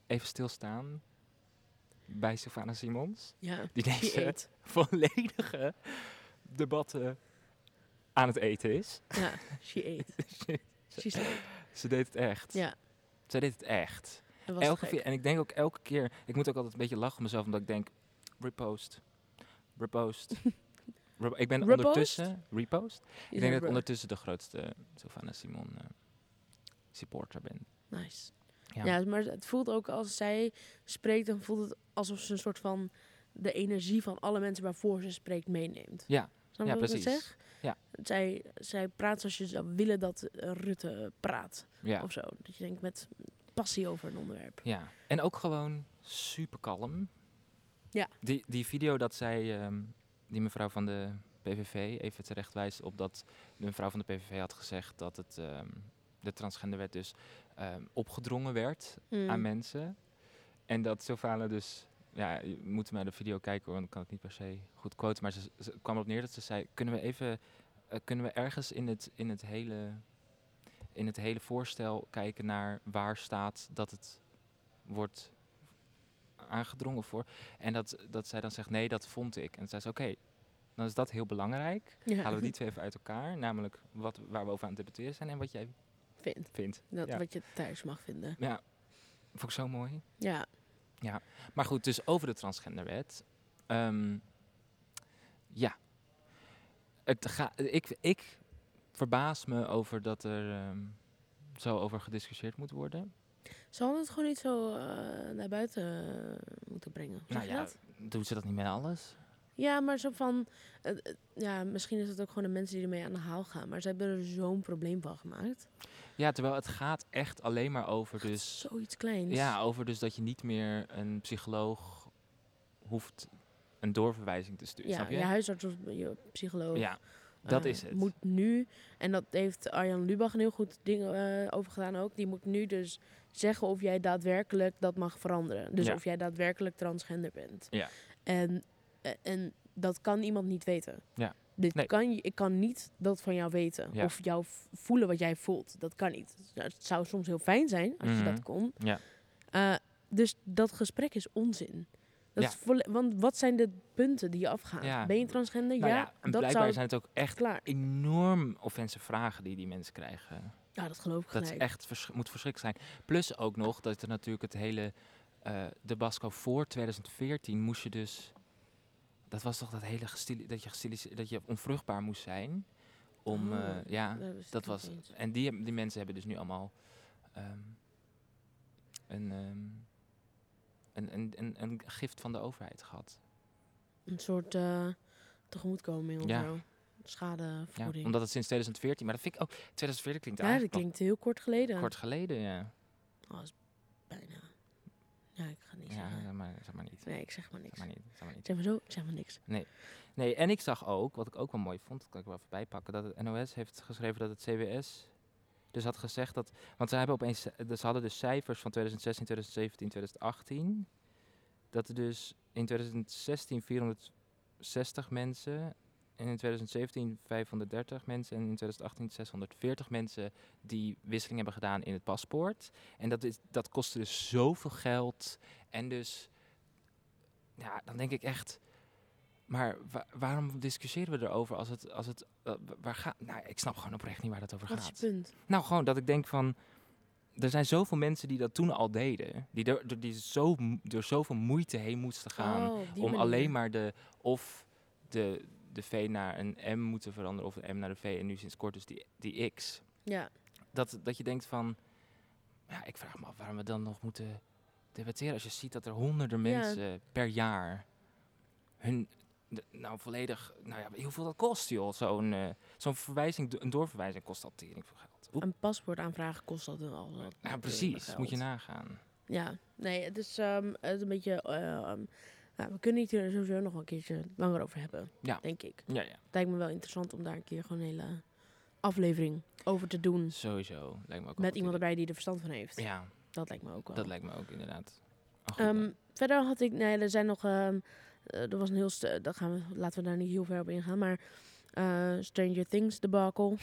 Speaker 1: even stilstaan bij Sylvana Simons. [LAUGHS]
Speaker 2: Ja,
Speaker 1: Die
Speaker 2: die
Speaker 1: deze
Speaker 2: eet.
Speaker 1: volledige debatten aan het eten is.
Speaker 2: Ja, she eet.
Speaker 1: [LAUGHS]
Speaker 2: She's leuk.
Speaker 1: Ze deed het echt.
Speaker 2: Ja.
Speaker 1: Ze deed het echt.
Speaker 2: Dat was
Speaker 1: Elke
Speaker 2: gek.
Speaker 1: keer, en ik denk ook elke keer, ik moet ook altijd een beetje lachen om mezelf, omdat ik denk, repost,
Speaker 2: [LAUGHS]
Speaker 1: repost. Rep- ik ben
Speaker 2: Repost?
Speaker 1: ondertussen, repost,
Speaker 2: Die
Speaker 1: ik
Speaker 2: zijn
Speaker 1: denk dat ik
Speaker 2: bro.
Speaker 1: ondertussen de grootste Sylvana Simon eh, supporter ben.
Speaker 2: Nice.
Speaker 1: Ja.
Speaker 2: Ja. maar het voelt ook als zij spreekt, dan voelt het alsof ze een soort van de energie van alle mensen waarvoor ze spreekt meeneemt.
Speaker 1: Ja.
Speaker 2: Snap je
Speaker 1: Ja,
Speaker 2: wat ik
Speaker 1: precies.
Speaker 2: zeg?
Speaker 1: Ja.
Speaker 2: Zij, zij praat zoals je zou willen dat eh, Rutte praat.
Speaker 1: Ja.
Speaker 2: of zo. Dat je denkt met passie over een onderwerp.
Speaker 1: ja. En ook gewoon super kalm.
Speaker 2: Ja.
Speaker 1: Die, die video dat zij ehm, die mevrouw van de PVV even terecht wijst op dat de mevrouw van de PVV had gezegd dat het, ehm, de transgenderwet dus ehm, opgedrongen werd
Speaker 2: Hmm.
Speaker 1: aan mensen. En dat Sylvana dus, ja, je moet maar de video kijken hoor, dan kan ik niet per se goed quoten. Maar ze, ze kwam erop neer dat ze zei, kunnen we even, eh, kunnen we ergens in het, in het hele... In het hele voorstel kijken naar waar staat dat het wordt aangedrongen voor. En dat, dat zij dan zegt, nee, dat vond ik. En dan zei ze, oké, dan is dat heel belangrijk.
Speaker 2: Ja.
Speaker 1: Halen
Speaker 2: [LAUGHS]
Speaker 1: we die twee even uit elkaar. Namelijk wat, waar we over aan het debatteren zijn en wat jij
Speaker 2: vindt.
Speaker 1: vindt.
Speaker 2: Dat
Speaker 1: Ja.
Speaker 2: wat je thuis mag vinden.
Speaker 1: Ja, vond ik zo mooi.
Speaker 2: Ja.
Speaker 1: Maar goed, dus over de transgenderwet. Ehm, ja. Het ga, ik, ik verbaas me over dat er ehm, zo over gediscussieerd moet worden.
Speaker 2: Ze hadden het gewoon niet zo eh, naar buiten eh, moeten brengen. Zeg
Speaker 1: nou
Speaker 2: je
Speaker 1: ja,
Speaker 2: dat?
Speaker 1: doen ze dat niet met alles?
Speaker 2: Ja, maar zo van... eh, eh, ja, misschien is het ook gewoon de mensen die ermee aan de haal gaan. Maar ze hebben er zo'n probleem van gemaakt.
Speaker 1: Ja, terwijl het gaat echt alleen maar over dus...
Speaker 2: Zoiets kleins.
Speaker 1: Ja, over dus dat je niet meer een psycholoog hoeft een doorverwijzing te sturen.
Speaker 2: ja
Speaker 1: snap je?
Speaker 2: je huisarts of je psycholoog.
Speaker 1: Ja, dat
Speaker 2: eh,
Speaker 1: is het.
Speaker 2: Moet nu, en dat heeft Arjan Lubach een heel goed ding eh, over gedaan ook. Die moet nu dus zeggen of jij daadwerkelijk dat mag veranderen. Dus
Speaker 1: Ja.
Speaker 2: of jij daadwerkelijk transgender bent.
Speaker 1: Ja.
Speaker 2: En, eh, en dat kan iemand niet weten.
Speaker 1: Ja.
Speaker 2: Dit
Speaker 1: Nee.
Speaker 2: kan, je- ik kan niet dat van jou weten.
Speaker 1: Ja.
Speaker 2: Of jou v- voelen wat jij voelt. Dat kan niet. Nou, het zou soms heel fijn zijn als je
Speaker 1: Mhm.
Speaker 2: dat kon.
Speaker 1: Ja.
Speaker 2: Eh, dus dat gesprek is onzin. Dat
Speaker 1: Ja.
Speaker 2: is volle- want wat zijn de punten die je afgaan?
Speaker 1: Ja.
Speaker 2: Ben je transgender?
Speaker 1: Nou
Speaker 2: ja,
Speaker 1: ja, en
Speaker 2: dat
Speaker 1: blijkbaar
Speaker 2: zou
Speaker 1: zijn het ook echt
Speaker 2: klaar.
Speaker 1: enorm offensive vragen die die mensen krijgen.
Speaker 2: Ja, dat geloof ik
Speaker 1: Dat
Speaker 2: gelijk.
Speaker 1: is echt versch- moet verschrikkelijk zijn. Plus ook nog dat er natuurlijk het hele eh de Basco voor 2014 moest je dus dat was toch dat hele gestili- dat je gestiliseerd dat je onvruchtbaar moest zijn om
Speaker 2: Oh,
Speaker 1: eh, ja
Speaker 2: Daar wist ik
Speaker 1: Dat
Speaker 2: het
Speaker 1: was.
Speaker 2: niet eens.
Speaker 1: En die, heb- die mensen hebben dus nu allemaal ehm, een, ehm, een, een, een, een gift van de overheid gehad.
Speaker 2: Een soort eh tegemoetkoming of
Speaker 1: Ja.
Speaker 2: zo.
Speaker 1: Ja,
Speaker 2: Schadevergoeding.
Speaker 1: omdat het sinds 2014, maar dat vind ik ook. 2014 klinkt
Speaker 2: Ja, dat
Speaker 1: eigenlijk nog
Speaker 2: klinkt eh, heel kort geleden.
Speaker 1: kort geleden. Ja,
Speaker 2: Oh, dat is bijna. Ja, ik ga het niet
Speaker 1: ja
Speaker 2: zeggen.
Speaker 1: zeg, maar, zeg maar niet.
Speaker 2: Nee, ik zeg maar
Speaker 1: Zeg
Speaker 2: niks.
Speaker 1: maar niet, zeg maar niet.
Speaker 2: Zeg maar zo, ik zeg maar niks.
Speaker 1: Nee, en ik zag ook, wat ik ook wel mooi vond, dat kan ik er wel even bijpakken, dat het NOS heeft geschreven dat het CBS dus had gezegd dat, want ze hebben opeens, dus ze hadden dus cijfers van 2016, 2017, 2018, dat er dus in 2016 460 mensen en in 2017 530 mensen en in 2018 640 mensen die wisseling hebben gedaan in het paspoort. En dat, is, dat kostte dus zoveel geld en dus, ja, dan denk ik echt, maar wa- waarom discussiëren we erover als het. Als het eh, wa- waar gaat. Nou, ik snap gewoon oprecht niet waar dat over
Speaker 2: Wat is
Speaker 1: gaat.
Speaker 2: je punt?
Speaker 1: Nou, gewoon dat ik denk van. Er zijn zoveel mensen die dat toen al deden. Die, er, er- die zo, m- door zoveel moeite heen moesten gaan.
Speaker 2: Oh, op die
Speaker 1: om
Speaker 2: manier.
Speaker 1: alleen maar de. Of de, de V naar een M moeten veranderen. Of de M naar de V. En nu sinds kort dus die, die X.
Speaker 2: Ja,
Speaker 1: Dat, dat je denkt van. Ja, ik vraag me af waarom we dan nog moeten debatteren. Als je ziet dat er honderden
Speaker 2: Ja.
Speaker 1: mensen per jaar hun. de- nou, volledig. Nou ja, weet je hoeveel dat kost, joh. Zo'n eh, zo'n verwijzing, do- een doorverwijzing kost al tering veel geld. Oep.
Speaker 2: een paspoort aanvragen kost dat dan al. wat
Speaker 1: Nou,
Speaker 2: meer
Speaker 1: precies.
Speaker 2: geld.
Speaker 1: Moet je nagaan.
Speaker 2: Ja, nee, het is, ehm, het is een beetje... ehm, nou, we kunnen het hier sowieso nog wel een keertje langer over hebben.
Speaker 1: Ja.
Speaker 2: Denk ik.
Speaker 1: Ja, ja.
Speaker 2: Het lijkt me wel interessant om daar een keer gewoon een hele aflevering over te doen.
Speaker 1: Sowieso. Lijkt me ook een
Speaker 2: Met iemand
Speaker 1: goed idee.
Speaker 2: erbij die er verstand van heeft.
Speaker 1: Ja,
Speaker 2: Dat lijkt me ook wel.
Speaker 1: dat lijkt me ook inderdaad. een goed
Speaker 2: Ehm,
Speaker 1: idee.
Speaker 2: verder had ik, nee, er zijn nog, ehm, eh, er was een heel, stu- dat gaan we, laten we daar niet heel ver op ingaan, maar eh, Stranger Things debacle.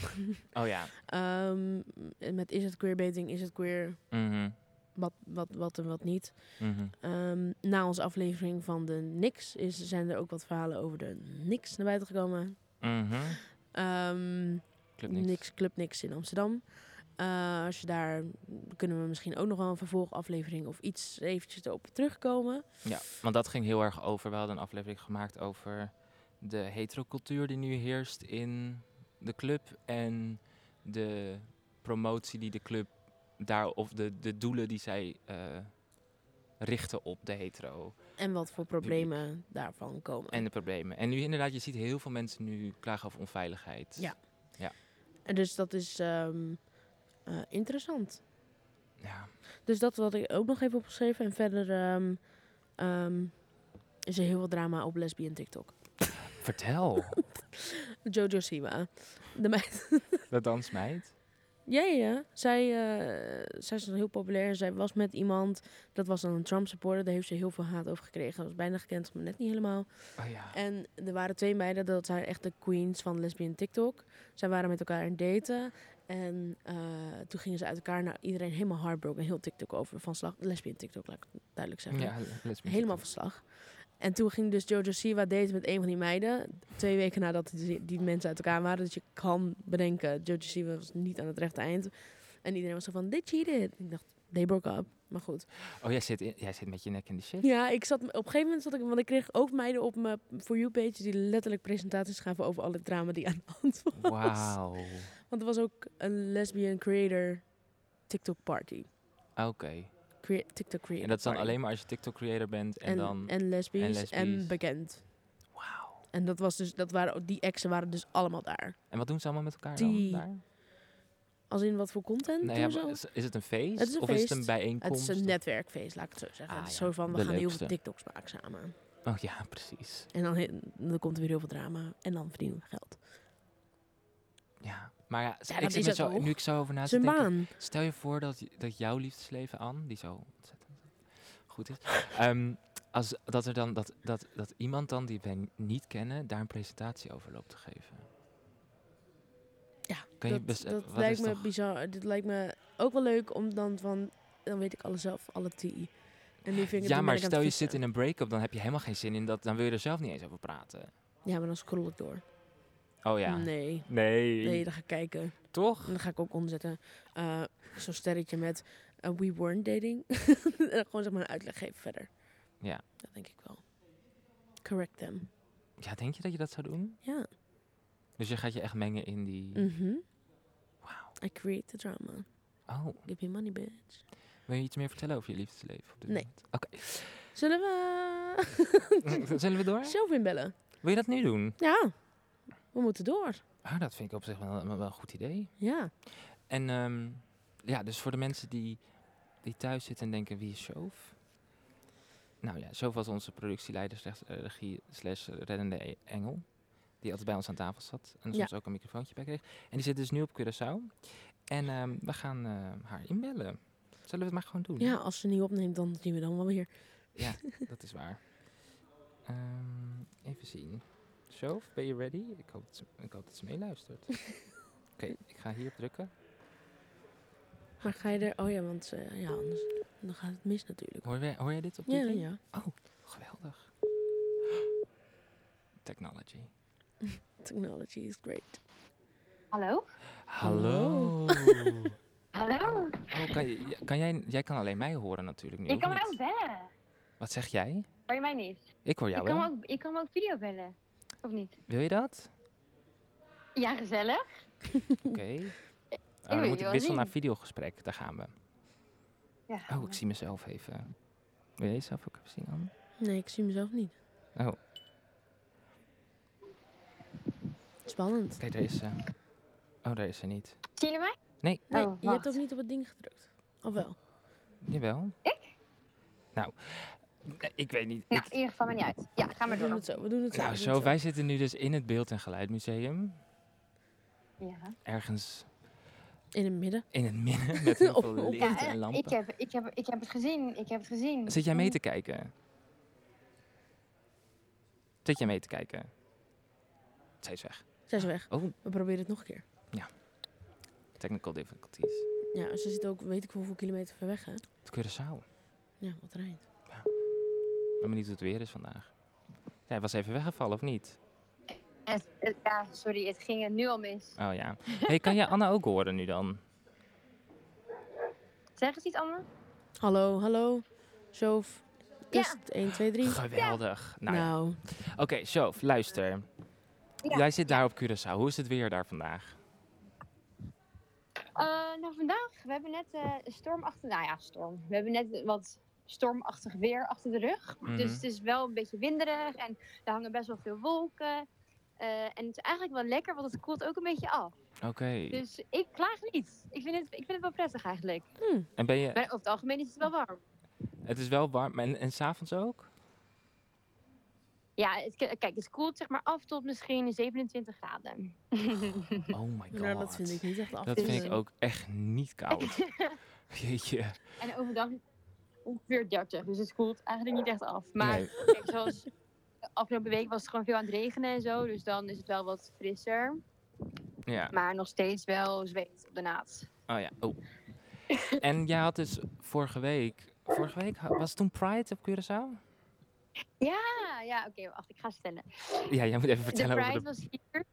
Speaker 1: oh ja.
Speaker 2: Ehm, en met is het queerbaiting, is het queer,
Speaker 1: Mhm,
Speaker 2: wat, wat, wat en wat niet.
Speaker 1: mhm.
Speaker 2: Ehm, na onze aflevering van de niks is, zijn er ook wat verhalen over de niks naar buiten gekomen.
Speaker 1: mhm.
Speaker 2: Ehm,
Speaker 1: Klopt niks.
Speaker 2: Club Niks in Amsterdam. Eh, als je daar kunnen we misschien ook nog wel een vervolgaflevering of iets eventjes erop terugkomen.
Speaker 1: Ja, want dat ging heel erg over. We hadden een aflevering gemaakt over de heterocultuur die nu heerst in de club. En de promotie die de club daar, of de, de doelen die zij eh, richten op de hetero.
Speaker 2: En wat voor problemen daarvan komen.
Speaker 1: En de problemen. En nu inderdaad, je ziet heel veel mensen nu klagen over onveiligheid.
Speaker 2: Ja. En dus dat is ehm, eh, interessant.
Speaker 1: Ja,
Speaker 2: Dus dat had ik ook nog even opgeschreven. En verder ehm, ehm, is er heel veel drama op lesbian TikTok.
Speaker 1: Vertel.
Speaker 2: Jojo Siwa. De meid. [LAUGHS]
Speaker 1: De dansmeid.
Speaker 2: Ja, ja, ja. Zij, eh, zij is dan heel populair. Zij was met iemand, dat was dan een Trump-supporter. Daar heeft ze heel veel haat over gekregen. Dat was bijna gekend, maar net niet helemaal.
Speaker 1: Oh ja.
Speaker 2: En er waren twee meiden, dat zijn echt de queens van lesbian TikTok. Zij waren met elkaar aan het daten. En eh, toen gingen ze uit elkaar. Nou, iedereen helemaal heartbroken. Heel TikTok over van slag. Lesbian TikTok, laat ik het duidelijk zeggen.
Speaker 1: ja let's be
Speaker 2: Helemaal
Speaker 1: TikTok.
Speaker 2: van slag. En toen ging dus Jojo Siwa daten met een van die meiden. Twee weken nadat die, die mensen uit elkaar waren. Dus je kan bedenken, Jojo Siwa was niet aan het rechte eind. En iedereen was zo van, they cheated. Ik dacht, they broke up. Maar goed.
Speaker 1: Oh, jij zit, in- jij zit met je nek in de shit.
Speaker 2: Ja, ik zat, op een gegeven moment zat ik, want ik kreeg ook meiden op mijn For You page die letterlijk presentaties gaven over alle drama die aan de hand was.
Speaker 1: Wauw.
Speaker 2: Want er was ook een lesbian creator TikTok party.
Speaker 1: Oké.
Speaker 2: Crea- TikTok creator
Speaker 1: En dat is dan
Speaker 2: party.
Speaker 1: alleen maar als je TikTok creator bent en,
Speaker 2: en,
Speaker 1: dan.
Speaker 2: en lesbisch en,
Speaker 1: lesbisch.
Speaker 2: bekend.
Speaker 1: Wauw.
Speaker 2: En dat was dus, dat waren, die exen waren dus allemaal daar.
Speaker 1: En wat doen ze allemaal met elkaar
Speaker 2: Die-
Speaker 1: dan? Daar?
Speaker 2: Als in wat voor content
Speaker 1: Nou
Speaker 2: doen
Speaker 1: ja,
Speaker 2: ze?
Speaker 1: maar is, is het een feest?
Speaker 2: Het is een
Speaker 1: of is het een
Speaker 2: feest.
Speaker 1: bijeenkomst?
Speaker 2: Het is een netwerkfeest, laat ik het zo zeggen.
Speaker 1: Ah,
Speaker 2: het is
Speaker 1: ja,
Speaker 2: zo van, we
Speaker 1: de
Speaker 2: gaan heel
Speaker 1: leukste.
Speaker 2: veel TikToks maken samen.
Speaker 1: Oh ja, precies.
Speaker 2: En dan, he- dan komt er weer heel veel drama. En dan verdienen we geld.
Speaker 1: Ja. Maar ja,
Speaker 2: Ja,
Speaker 1: ik
Speaker 2: dat
Speaker 1: zit
Speaker 2: is
Speaker 1: me
Speaker 2: het
Speaker 1: zo,
Speaker 2: toch?
Speaker 1: nu ik zo over na te
Speaker 2: Zijn
Speaker 1: denken.
Speaker 2: baan.
Speaker 1: Stel je voor dat, j- dat jouw liefdesleven aan, die zo ontzettend goed is, ehm, als, dat, er dan, dat, dat, dat iemand dan die wij n- niet kennen daar een presentatie over loopt te geven.
Speaker 2: Ja,
Speaker 1: Kan je
Speaker 2: dat,
Speaker 1: best-
Speaker 2: dat
Speaker 1: wat
Speaker 2: lijkt
Speaker 1: is
Speaker 2: me
Speaker 1: toch-
Speaker 2: bizar. Dit lijkt me ook wel leuk om dan van... Dan weet ik alles zelf, alle TI. En nu vind ik
Speaker 1: Ja, maar stel je zit in een break-up, dan heb je helemaal geen zin in dat, dan wil je er zelf niet eens over praten.
Speaker 2: Ja, maar dan scroll ik door.
Speaker 1: Oh ja.
Speaker 2: Nee.
Speaker 1: Nee.
Speaker 2: Nee, dan ga ik kijken. En
Speaker 1: Toch?
Speaker 2: dan ga ik ook onderzetten. eh, Zo'n sterretje met... eh, we weren't dating. [LAUGHS] en dan gewoon zeg maar een uitleg geven verder.
Speaker 1: Ja.
Speaker 2: Dat denk ik wel. Correct them.
Speaker 1: Ja, denk je dat je dat zou doen?
Speaker 2: Ja.
Speaker 1: Dus je gaat je echt mengen in die...
Speaker 2: Mhm.
Speaker 1: Wauw.
Speaker 2: I create the drama.
Speaker 1: Oh,
Speaker 2: Give me money, bitch.
Speaker 1: wil je iets meer vertellen over je liefdesleven? op dit
Speaker 2: Nee.
Speaker 1: moment? Oké.
Speaker 2: Zullen we...
Speaker 1: [LAUGHS] Zullen we
Speaker 2: [LAUGHS]
Speaker 1: door?
Speaker 2: Zelf inbellen?
Speaker 1: Wil je dat nu doen?
Speaker 2: Ja. We moeten door.
Speaker 1: Ah, dat vind ik op zich wel, wel een goed idee.
Speaker 2: Ja.
Speaker 1: En ehm, ja, dus voor de mensen die, die thuis zitten en denken, wie is Shoof? Nou ja, Shoof was onze productieleider, slash, eh, regie, slash reddende e- engel. Die altijd bij ons aan tafel zat en
Speaker 2: Ja.
Speaker 1: soms ook een microfoontje bij kreeg. En die zit dus nu op Curaçao. En ehm, we gaan eh, haar inbellen. Zullen we het maar gewoon doen?
Speaker 2: Ja, als ze niet opneemt, dan zien we dan wel weer.
Speaker 1: Ja, dat is waar. Ehm, even zien. Shoof, ben je ready? Ik hoop dat ze, ik hoop dat
Speaker 2: [LAUGHS]
Speaker 1: ze meeluistert. Oké, ik ga hier drukken.
Speaker 2: Maar ga je er... Oh ja, want eh, ja, anders dan gaat het mis natuurlijk.
Speaker 1: Hoor jij, hoor jij dit op dit
Speaker 2: Ja,
Speaker 1: ding? Oh,
Speaker 2: ja.
Speaker 1: Geweldig. Technology.
Speaker 2: Technology is great.
Speaker 3: Hallo?
Speaker 1: Hallo.
Speaker 3: Hallo?
Speaker 1: Oh, kan, je- kan jij, jij kan alleen mij horen natuurlijk nu.
Speaker 3: Je
Speaker 1: of
Speaker 3: kan me
Speaker 1: niet?
Speaker 3: ook bellen.
Speaker 1: Wat zeg jij?
Speaker 3: Hoor je mij niet?
Speaker 1: Ik hoor
Speaker 3: Je
Speaker 1: jou
Speaker 3: kan, me
Speaker 1: wel.
Speaker 3: ook, je kan me ook video bellen. Of niet?
Speaker 1: Wil je
Speaker 2: [LAUGHS]
Speaker 1: dat?
Speaker 3: Ja, gezellig.
Speaker 2: Eh,
Speaker 1: Oké. Oh,
Speaker 3: wil
Speaker 1: dan
Speaker 3: je
Speaker 1: moet ik
Speaker 3: wel
Speaker 1: wisselen
Speaker 3: zien.
Speaker 1: naar videogesprek. Daar gaan we.
Speaker 3: Ja,
Speaker 1: Oh, ik zie mezelf even. Wil jij jezelf ook even zien, Anne?
Speaker 2: Nee, ik zie mezelf niet.
Speaker 1: Oh, oké,
Speaker 2: Spannend.
Speaker 1: daar is ze. Oh, daar is ze niet.
Speaker 3: Zien jullie mij?
Speaker 1: Nee.
Speaker 2: Nee,
Speaker 3: Oh,
Speaker 2: je hebt
Speaker 3: wacht.
Speaker 2: ook niet op het ding gedrukt. Of wel?
Speaker 1: Jawel. Ik? Nou, eh, ik weet niet.
Speaker 3: Nou,
Speaker 1: Ik-
Speaker 3: in ieder geval maar niet uit. Ja, ga
Speaker 2: We
Speaker 3: maar
Speaker 2: doen
Speaker 3: door.
Speaker 2: het zo. We doen het zo.
Speaker 1: nou,
Speaker 2: we doen
Speaker 1: zo,
Speaker 2: het
Speaker 1: wij zitten nu dus in het Beeld- en Geluidmuseum.
Speaker 3: Ja.
Speaker 1: Ergens
Speaker 2: In het midden.
Speaker 1: in het midden [LAUGHS] met heel
Speaker 2: Op-
Speaker 1: veel
Speaker 2: op-
Speaker 1: licht
Speaker 3: eh,
Speaker 1: en
Speaker 3: ik,
Speaker 1: lampen.
Speaker 3: heb, ik, heb, ik heb het gezien. Ik heb het gezien.
Speaker 1: Zit jij mee te kijken? Zit jij mee te kijken? Zij is weg.
Speaker 2: Zij is weg.
Speaker 1: Oh,
Speaker 2: We proberen het nog een keer.
Speaker 1: technical difficulties.
Speaker 2: Ja, ze zit ook weet ik hoeveel kilometer ver weg, hè?
Speaker 1: Het Curaçao.
Speaker 2: Ja, wat rijdt.
Speaker 1: Ik ben benieuwd hoe het weer is vandaag. Jij was even weggevallen, of niet?
Speaker 3: Het- het- ja, sorry. Het ging eh, nu al mis.
Speaker 1: Oh ja. Hey, kan jij Anna ook horen nu dan?
Speaker 3: Zeg eens iets, Anne.
Speaker 2: Hallo, hallo. Sof. Test 1, 2, 3.
Speaker 1: Geweldig. Nou, ja.
Speaker 2: nou,
Speaker 1: Oké, Sjof, luister.
Speaker 3: Ja.
Speaker 1: Jij zit daar op Curaçao. Hoe is het weer daar vandaag?
Speaker 3: Eh, nou, vandaag. We hebben net eh, een storm achter... Nou ja, storm. We hebben net wat stormachtig weer achter de rug.
Speaker 1: Mhm.
Speaker 3: Dus het is wel een beetje winderig. En er hangen best wel veel wolken. Eh, en het is eigenlijk wel lekker, want het koelt ook een beetje af.
Speaker 1: Oké.
Speaker 3: Dus ik klaag niet. Ik vind het, ik vind het wel prettig eigenlijk.
Speaker 1: En ben je...
Speaker 3: Maar over het algemeen is het wel warm.
Speaker 1: Het is wel warm. En, en s'avonds ook?
Speaker 3: Ja, het, kijk, het koelt zeg maar af tot misschien 27 graden. Mhm.
Speaker 1: Oh my god.
Speaker 2: Nou, dat vind ik niet echt af.
Speaker 1: Dat vind ik ook echt
Speaker 2: [LAUGHS]
Speaker 1: niet koud. Jeetje.
Speaker 3: en overdag ongeveer 30, dus het koelt eigenlijk niet echt af. Maar
Speaker 1: Nee.
Speaker 3: kijk, zoals de afgelopen week was het gewoon veel aan het regenen en zo, dus dan is het wel wat frisser.
Speaker 1: Ja.
Speaker 3: Maar nog steeds wel zweet op de naad.
Speaker 1: Oh ja. Oh. En jij had dus vorige week... Vorige week ha- was het toen Pride op Curaçao?
Speaker 3: Ah, ja, oké, wacht, ik ga stellen.
Speaker 1: Ja, jij moet even vertellen
Speaker 3: de
Speaker 1: over
Speaker 3: Pride
Speaker 1: de...
Speaker 3: was hier.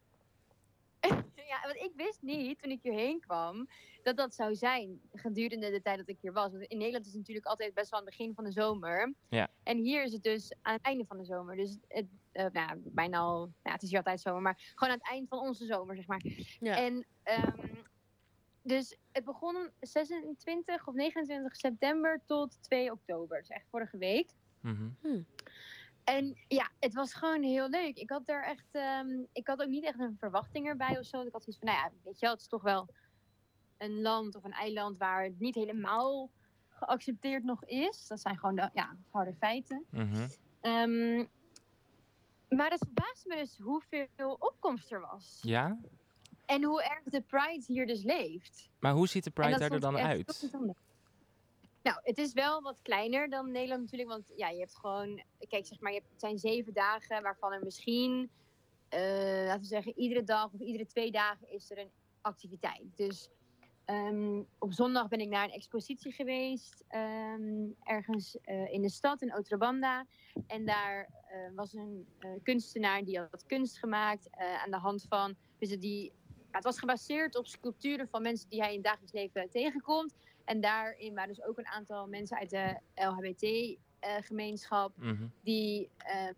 Speaker 3: [LAUGHS] ja, want ik wist niet toen ik hierheen kwam dat dat zou zijn gedurende de tijd dat ik hier was. Want in Nederland is het natuurlijk altijd best wel aan het begin van de zomer.
Speaker 1: Ja.
Speaker 3: En hier is het dus aan het einde van de zomer. Dus het, eh, nou, ja, bijna al, nou, ja, het is hier altijd zomer, maar gewoon aan het eind van onze zomer, zeg maar.
Speaker 2: Ja.
Speaker 3: En ehm, dus het begon 26 of 29 september tot 2 oktober. Dus echt vorige week.
Speaker 1: Mhm.
Speaker 3: En ja, het was gewoon heel leuk. Ik had daar echt, ehm, ik had ook niet echt een verwachting erbij of zo. Ik had zoiets van, nou ja, weet je wel, het is toch wel een land of een eiland waar het niet helemaal geaccepteerd nog is. Dat zijn gewoon de ja, harde feiten.
Speaker 1: mhm.
Speaker 3: Ehm, maar het verbaasde me dus hoeveel opkomst er was.
Speaker 1: Ja?
Speaker 3: En hoe erg de Pride hier dus leeft.
Speaker 1: Maar hoe ziet de
Speaker 3: En
Speaker 1: Pride
Speaker 3: dat
Speaker 1: daar er
Speaker 3: vond
Speaker 1: dan
Speaker 3: ik echt
Speaker 1: uit?
Speaker 3: bijzonder. Nou, het is wel wat kleiner dan Nederland natuurlijk. Want ja, je hebt gewoon... Kijk, zeg maar, je hebt, het zijn zeven dagen waarvan er misschien... eh, laten we zeggen, iedere dag of iedere twee dagen is er een activiteit. Dus ehm, op zondag ben ik naar een expositie geweest. ehm, ergens eh, in de stad, in Otrobanda. En daar eh, was een eh, kunstenaar die had kunst gemaakt. eh, aan de hand van... Dus die ja, het was gebaseerd op sculpturen van mensen die hij in het dagelijks leven tegenkomt. En daarin waren dus ook een aantal mensen uit de eh, LHBT-gemeenschap
Speaker 1: Mhm.
Speaker 3: die ehm,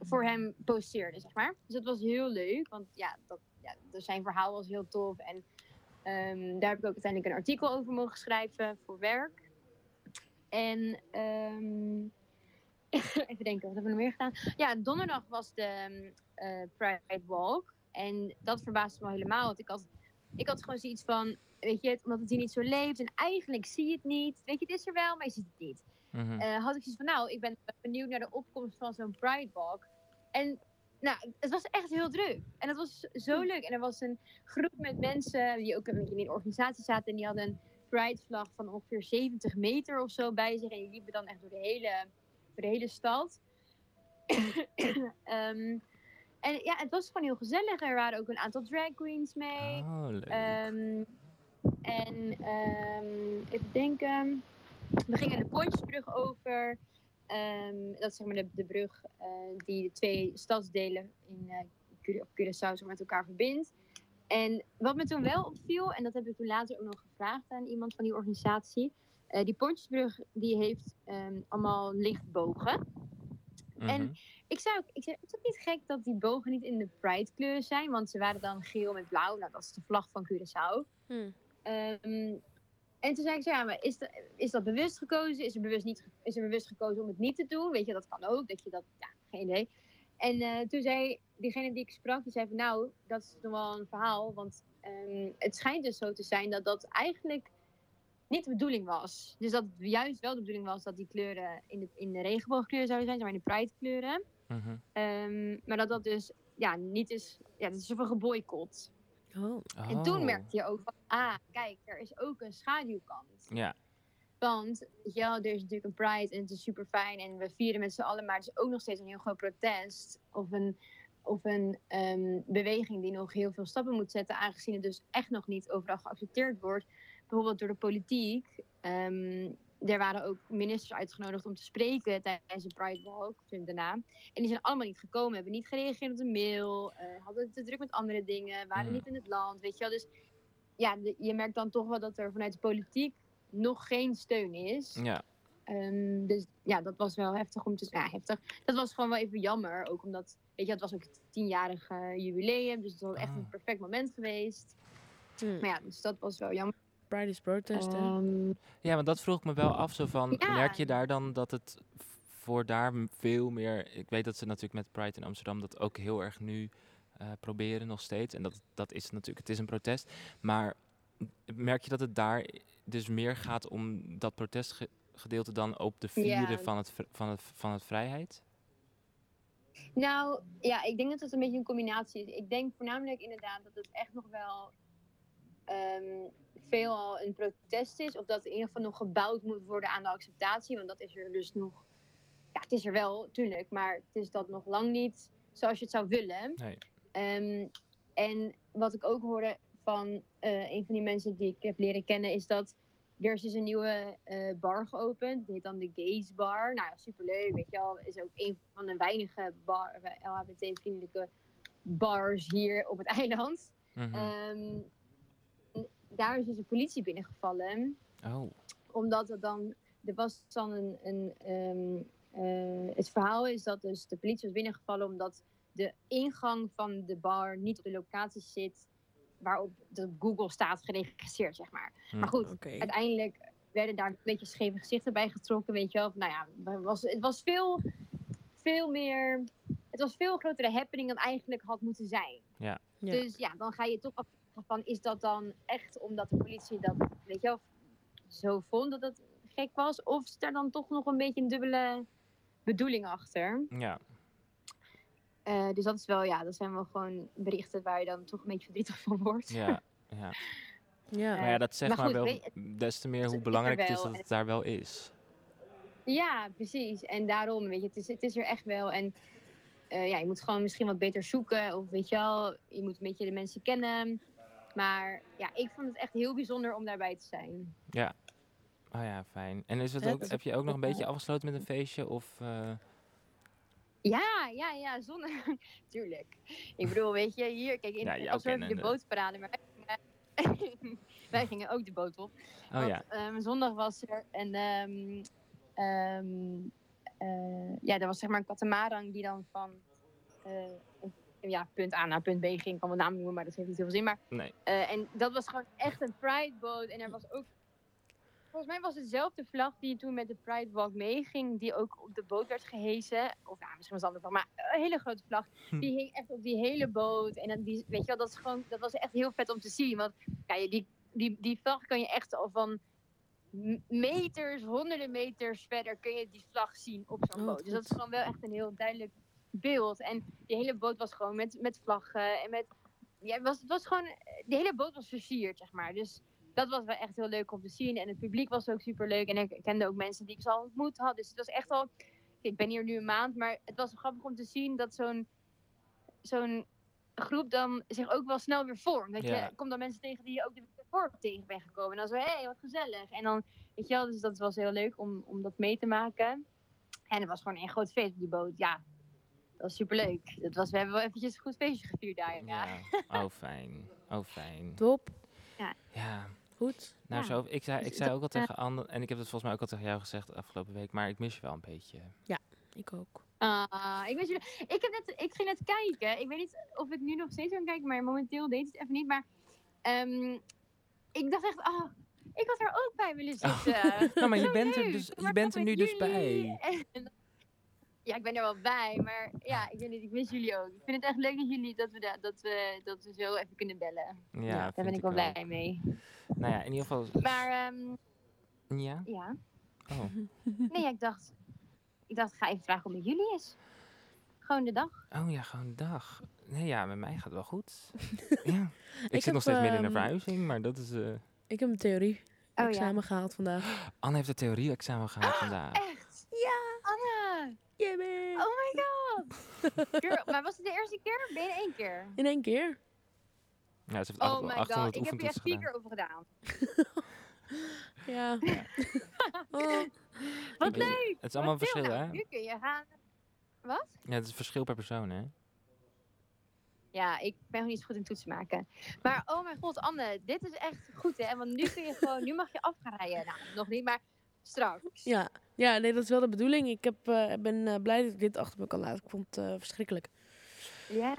Speaker 3: voor hem posteerden, zeg maar. Dus dat was heel leuk, want ja, dat, ja dat zijn verhaal was heel tof. En ehm, daar heb ik ook uiteindelijk een artikel over mogen schrijven voor werk. En ehm, [LAUGHS] even denken, wat hebben we nog meer gedaan? Ja, donderdag was de ehm, eh, Pride Walk. En dat verbaasde me helemaal, want ik had, ik had gewoon zoiets van... Weet je, omdat het hier niet zo leeft en eigenlijk zie je het niet. Weet je, het is er wel, maar je ziet het niet.
Speaker 1: mhm.
Speaker 3: Eh, had ik zoiets van, nou, ik ben benieuwd naar de opkomst van zo'n Pride Walk. En nou, het was echt heel druk. En dat was zo leuk. En er was een groep met mensen die ook een beetje in een organisatie zaten. En die hadden een Pride vlag van ongeveer 70 meter of zo bij zich. En die liepen dan echt door de hele, door de hele stad. Ehm, en ja, het was gewoon heel gezellig. Er waren ook een aantal drag queens mee.
Speaker 1: Oh, leuk.
Speaker 3: Eh, Ehm, en ehm, even denken. We gingen de Pontjesbrug over. Ehm, dat is zeg maar de, de brug eh, die de twee stadsdelen in eh, Cura- op Curaçao zeg maar, met elkaar verbindt. En wat me toen wel opviel, en dat heb ik toen later ook nog gevraagd aan iemand van die organisatie. eh, die Pontjesbrug die heeft ehm, allemaal lichtbogen.
Speaker 1: Mhm.
Speaker 3: Ik zou, ook- ik zei, het is ook niet gek dat die bogen niet in de Pride kleur zijn, want ze waren dan geel met blauw. Nou, dat is de vlag van Curaçao.
Speaker 2: Hm.
Speaker 3: Ehm, en toen zei ik zo, ja, maar is, dat- is dat bewust gekozen? Is er bewust, niet, is er bewust gekozen om het niet te doen? Weet je, dat kan ook. Dat je dat, ja, geen idee. En eh, toen zei diegene die ik sprak, die zei van, nou, dat is nog wel een verhaal, want ehm, het schijnt dus zo te zijn dat dat eigenlijk niet de bedoeling was. Dus dat het juist wel de bedoeling was dat die kleuren in de, in de regenboogkleuren zouden zijn, zeg maar in de Pride kleuren.
Speaker 1: mhm.
Speaker 3: Ehm, maar dat dat dus ja, niet is. Ja, dat is zoveel geboycott.
Speaker 2: Oh.
Speaker 1: Oh.
Speaker 3: En toen merkte je ook van, ah, kijk, er is ook een schaduwkant.
Speaker 1: Ja.
Speaker 3: Want, weet je wel, er is natuurlijk een Pride en het is super fijn en we vieren met z'n allen, maar het is ook nog steeds een heel groot protest. Of een, of een ehm, beweging die nog heel veel stappen moet zetten, aangezien het dus echt nog niet overal geaccepteerd wordt. Bijvoorbeeld door de politiek. Ehm, er waren ook ministers uitgenodigd om te spreken tijdens de Pride Walk, vind ik de naam. En die zijn allemaal niet gekomen, hebben niet gereageerd op de mail, eh, hadden het te druk met andere dingen, waren
Speaker 1: Ja.
Speaker 3: niet in het land, weet je wel. Dus ja, de- je merkt dan toch wel dat er vanuit de politiek nog geen steun is.
Speaker 1: Ja.
Speaker 3: Ehm, dus ja, dat was wel heftig om te Ja, heftig. Dat was gewoon wel even jammer. Ook omdat, weet je, het was ook het tienjarige jubileum. Dus het was echt
Speaker 1: Ah.
Speaker 3: een perfect moment geweest.
Speaker 2: Hm.
Speaker 3: Maar ja, dus dat was wel jammer.
Speaker 2: Pride is protest, hè?
Speaker 3: Ehm,
Speaker 1: Ja, want dat vroeg ik me wel af. Zo van,
Speaker 3: Ja.
Speaker 1: merk je daar dan dat het v- voor daar m- veel meer... Ik weet dat ze natuurlijk met Pride in Amsterdam dat ook heel erg nu eh, proberen nog steeds. En dat, dat is natuurlijk, het is een protest. Maar merk je dat het daar dus meer gaat om dat protestgedeelte dan op de vieren
Speaker 3: Ja.
Speaker 1: van, het, vri- van, het, van het vrijheid?
Speaker 3: Nou, ja, ik denk dat het een beetje een combinatie is. Ik denk voornamelijk inderdaad dat het echt nog wel ehm, veelal een protest is. Of dat in ieder geval nog gebouwd moet worden aan de acceptatie. Want dat is er dus nog... Ja, het is er wel, tuurlijk. Maar het is dat nog lang niet zoals je het zou willen.
Speaker 1: Nee.
Speaker 3: Ehm, en wat ik ook hoorde van eh, een van die mensen die ik heb leren kennen... is dat er is dus een nieuwe eh, bar geopend. Die heet dan de Gays Bar. Nou ja, superleuk. Weet je wel, is ook een van de weinige bar, LHBT-vriendelijke bars hier op het [LAUGHS] eiland.
Speaker 1: Mhm.
Speaker 3: Ehm, daar is dus de politie binnengevallen.
Speaker 1: oh.
Speaker 3: Omdat er dan. Er was dan een. een ehm, eh, het verhaal is dat dus de politie was binnengevallen omdat de ingang van de bar niet op de locatie zit waarop de Google staat geregistreerd, zeg maar.
Speaker 1: Hmm.
Speaker 3: Maar goed,
Speaker 2: Oké.
Speaker 3: uiteindelijk werden daar een beetje scheve gezichten bij getrokken, weet je wel. Nou ja, het was, het was veel, veel meer... Het was veel grotere happening dan eigenlijk had moeten zijn.
Speaker 1: Ja.
Speaker 2: Ja.
Speaker 3: Dus ja, dan ga je toch afvragen van, is dat dan echt omdat de politie dat, weet je wel, zo vond dat het gek was? Of is daar dan toch nog een beetje een dubbele bedoeling achter?
Speaker 1: Ja.
Speaker 3: Eh, dus dat is wel, ja, dat zijn wel gewoon berichten waar je dan toch een beetje verdrietig van wordt.
Speaker 1: Ja.
Speaker 3: [LAUGHS]
Speaker 1: ja.
Speaker 2: Ja.
Speaker 1: Maar ja, dat zegt
Speaker 3: maar
Speaker 1: maar,
Speaker 3: goed,
Speaker 1: wel
Speaker 3: weet-
Speaker 1: des te meer
Speaker 3: het
Speaker 1: hoe
Speaker 3: is er
Speaker 1: belangrijk het is
Speaker 3: wel
Speaker 1: dat
Speaker 3: en-
Speaker 1: het daar wel is.
Speaker 3: Ja, precies. En daarom, weet je, het is, het is er echt wel. En eh, ja, je moet gewoon misschien wat beter zoeken. Of weet je wel, je moet een beetje de mensen kennen. Maar ja, ik vond het echt heel bijzonder om daarbij te zijn.
Speaker 1: Oh ja, fijn. En is het
Speaker 2: Ja,
Speaker 1: ook,
Speaker 2: dat is
Speaker 1: heb je
Speaker 2: ook
Speaker 1: ook nog een
Speaker 2: wel-
Speaker 1: beetje afgesloten met een feestje? Of, eh,
Speaker 3: Ja, ja, ja, zonder... [LAUGHS] Tuurlijk. Ik bedoel, weet je, hier, kijk, in
Speaker 1: Ja,
Speaker 3: ja,
Speaker 1: jou
Speaker 3: de
Speaker 1: kennende.
Speaker 3: bootparade. Maar wij gingen, [LAUGHS] wij gingen ook de boot op.
Speaker 1: Oh
Speaker 3: Want,
Speaker 1: ja.
Speaker 3: ehm, zondag was er een. ehm, ehm, eh, ja, er was zeg maar een katamaran die dan van. eh, ja, punt A naar punt B ging. Ik kan wel naam noemen, maar dat heeft niet heel veel zin. Maar,
Speaker 1: Nee.
Speaker 3: eh, en dat was gewoon echt een Pride boat. En er was ook. Volgens mij was het dezelfde vlag die toen met de Pride Walk meeging. Die ook op de boot werd gehesen. Of nou, misschien was het een andere vlag. Maar een hele grote vlag.
Speaker 1: Hm.
Speaker 3: Die hing echt op die hele boot. En dan die, weet je wel, dat, is gewoon, dat was echt heel vet om te zien. Want ja, je- die, die, die vlag kan je echt al van m- meters, honderden meters verder kun je die vlag zien op zo'n
Speaker 2: Oh, wat
Speaker 3: boot. Dus dat is
Speaker 2: goed.
Speaker 3: gewoon wel echt een heel duidelijk beeld. En die hele boot was gewoon met, met vlaggen en met... Ja, het was, het was gewoon... De hele boot was versierd, zeg maar. Dus dat was wel echt heel leuk om te zien. En het publiek was ook super leuk. En ik kende ook mensen die ik al ontmoet had. Dus het was echt al... Ik ben hier nu een maand, maar het was grappig om te zien dat zo'n... Zo'n groep dan zich ook wel snel weer vormt. Dat
Speaker 1: Ja.
Speaker 3: je komt dan mensen tegen die je ook de week ervoor tegen bent gekomen. En dan zo, hé, hey, wat gezellig. En dan, weet je wel, dus dat was heel leuk om, om dat mee te maken. En het was gewoon een groot feest op die boot. Ja, dat was superleuk. Dat was, we hebben wel eventjes een goed feestje gevierd daar. Ja.
Speaker 1: ja. Oh fijn. Oh fijn.
Speaker 2: Top.
Speaker 1: Ja.
Speaker 2: Goed.
Speaker 1: Nou,
Speaker 3: Ja.
Speaker 1: zo, ik zei,
Speaker 3: Dus
Speaker 1: ik zei
Speaker 3: dat-
Speaker 1: ook al tegen Anne, en ik heb het volgens mij ook al tegen jou gezegd de afgelopen week, maar ik mis je wel een beetje.
Speaker 2: Ik ook.
Speaker 3: Ah, ik, weet jullie, ik, heb net, ik ging net kijken. Ik weet niet of ik nu nog steeds kan kijken, maar momenteel deed het even niet. Maar ehm, ik dacht echt, ah, ik had er ook bij willen
Speaker 1: Oh.
Speaker 3: zitten.
Speaker 1: [LAUGHS] Nou, maar je
Speaker 3: Zo
Speaker 1: bent er
Speaker 3: leuk.
Speaker 1: dus, je
Speaker 3: Maar
Speaker 1: bent er
Speaker 3: ook
Speaker 1: nu
Speaker 3: met
Speaker 1: dus
Speaker 3: jullie.
Speaker 1: bij.
Speaker 3: [LAUGHS] En- Ja, ik ben er wel bij, maar ja, ik weet niet, ik mis jullie ook. Ik vind het echt leuk dat jullie dat we, da- dat we, dat we zo even kunnen bellen.
Speaker 1: Ja,
Speaker 2: daar
Speaker 3: Daar
Speaker 1: vind
Speaker 3: ben ik wel
Speaker 1: ook.
Speaker 3: blij mee.
Speaker 1: Nou ja, in ieder geval.
Speaker 3: Maar ehm,
Speaker 1: Ja?
Speaker 3: [LAUGHS] ja,
Speaker 1: Oh.
Speaker 3: nee, ja, ik dacht, ik dacht, ik ga even vragen hoe het met jullie is. Gewoon de dag.
Speaker 1: Oh ja, gewoon dag. Nee, ja, met mij gaat het wel
Speaker 3: [LAUGHS]
Speaker 1: goed. ja. Ik, zit
Speaker 2: heb,
Speaker 1: nog steeds midden in een
Speaker 2: ehm,
Speaker 1: verhuizing, maar dat is... eh,
Speaker 2: Ik heb een theorie
Speaker 3: Oh ja,
Speaker 2: examen gehaald vandaag.
Speaker 1: Anne heeft het theorie-examen gehad vandaag.
Speaker 3: Ah, echt. Ja, Anna.
Speaker 2: Jemmy.
Speaker 3: Oh my god. Girl, maar was het de eerste keer of ben je er één keer?
Speaker 2: In één keer.
Speaker 1: Ja, ze heeft
Speaker 3: Oh
Speaker 1: acht-
Speaker 3: my
Speaker 1: 800
Speaker 3: god, ik heb er echt
Speaker 1: oefentoetsen
Speaker 3: vier
Speaker 1: gedaan.
Speaker 3: keer over gedaan.
Speaker 2: Ja.
Speaker 1: Ja.
Speaker 2: [LAUGHS] Oh,
Speaker 3: Wat
Speaker 1: Ik-
Speaker 3: leuk.
Speaker 1: Het is allemaal
Speaker 3: Wat chill.
Speaker 1: verschillen,
Speaker 3: Nou,
Speaker 1: hè?
Speaker 3: Nu kun je gaan. Wat?
Speaker 1: Ja, het is verschil per persoon, hè?
Speaker 3: Ja, ik ben nog niet zo goed in toetsen maken. Maar oh mijn god, Anne, dit is echt goed hè. Want nu kun je gewoon, nu mag je af gaan rijden. Nou, nog niet, maar straks.
Speaker 2: ja. Ja, nee, dat is wel de bedoeling. Ik heb, eh, ben eh, blij dat ik dit achter me kan laten. Ik vond het eh, verschrikkelijk.
Speaker 3: Ja.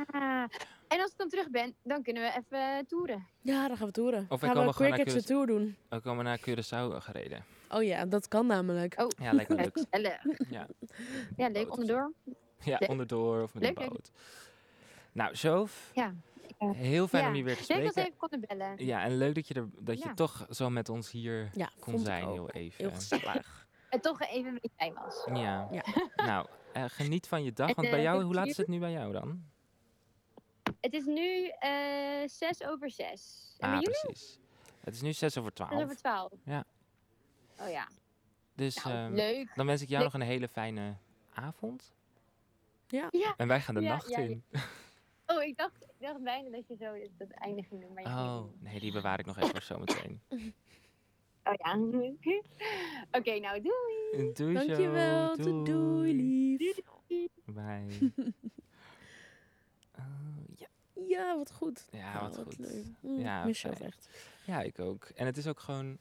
Speaker 3: En als ik dan terug ben, dan kunnen we even eh, toeren.
Speaker 2: Ja, dan gaan we toeren.
Speaker 1: wij
Speaker 2: gaan
Speaker 1: komen
Speaker 2: we
Speaker 1: gewoon
Speaker 2: Queer
Speaker 1: naar
Speaker 2: Kids de
Speaker 1: Curaçao.
Speaker 2: Tour doen.
Speaker 1: We komen naar Curaçao gereden.
Speaker 2: Oh ja, dat kan namelijk.
Speaker 3: Oh,
Speaker 1: Ja, lijkt me
Speaker 3: ja,
Speaker 1: leuk.
Speaker 3: gezellig.
Speaker 1: Ja, Oh,
Speaker 3: Ja,
Speaker 1: Boot
Speaker 3: leuk
Speaker 1: of
Speaker 3: onderdoor.
Speaker 1: ja
Speaker 3: Leuk.
Speaker 1: onderdoor of met
Speaker 3: Leuk,
Speaker 1: een
Speaker 3: leuk.
Speaker 1: boot. Nou, Sof,
Speaker 3: Ja.
Speaker 1: heel fijn
Speaker 3: Ja.
Speaker 1: om je weer te
Speaker 3: Leuk dat we
Speaker 1: spreken.
Speaker 3: even konden bellen.
Speaker 1: Ja, en leuk dat je, er, dat je
Speaker 3: Ja.
Speaker 1: toch zo met ons hier
Speaker 2: Ja,
Speaker 1: kon
Speaker 2: vond ik
Speaker 1: zijn,
Speaker 2: ook.
Speaker 1: heel even.
Speaker 2: Heel gezellig.
Speaker 3: het toch even mee bij was.
Speaker 1: Ja.
Speaker 2: Ja.
Speaker 1: Nou, eh, geniet van je dag.
Speaker 3: En,
Speaker 1: Want bij
Speaker 3: eh,
Speaker 1: jou,
Speaker 3: het
Speaker 1: hoe laat
Speaker 3: duurt-
Speaker 1: is het nu bij jou dan?
Speaker 3: Het is nu eh zes over zes. En
Speaker 1: Ah,
Speaker 3: bij jullie?
Speaker 1: precies. Het is nu 6 over
Speaker 3: Zes over
Speaker 1: 12.
Speaker 3: twaalf.
Speaker 1: Ja.
Speaker 3: Oh ja.
Speaker 1: Dus
Speaker 3: Nou,
Speaker 1: ehm,
Speaker 3: leuk.
Speaker 1: dan wens ik jou
Speaker 3: leuk.
Speaker 1: nog een hele fijne avond.
Speaker 3: Ja.
Speaker 1: En wij gaan de
Speaker 3: Ja,
Speaker 1: nacht
Speaker 3: ja, ja.
Speaker 1: in.
Speaker 3: Oh, ik dacht, ik dacht bijna dat je zo dat eindig ging doen. Maar je ging
Speaker 1: Oh,
Speaker 3: niet.
Speaker 1: nee, die bewaar ik nog even voor zometeen.
Speaker 3: Oh ja. [LAUGHS] Oké, nou doei.
Speaker 1: Doei,
Speaker 2: Dankjewel. Doei,
Speaker 1: Jo.
Speaker 2: doei lief. [LAUGHS]
Speaker 1: Bye. Oh, ja.
Speaker 2: Ja, wat goed.
Speaker 1: Ja, wat goed.
Speaker 2: leuk. Mm,
Speaker 1: Ja,
Speaker 2: ik mis je ook
Speaker 1: fijn.
Speaker 2: echt.
Speaker 1: Ja, ik ook. En het is ook gewoon...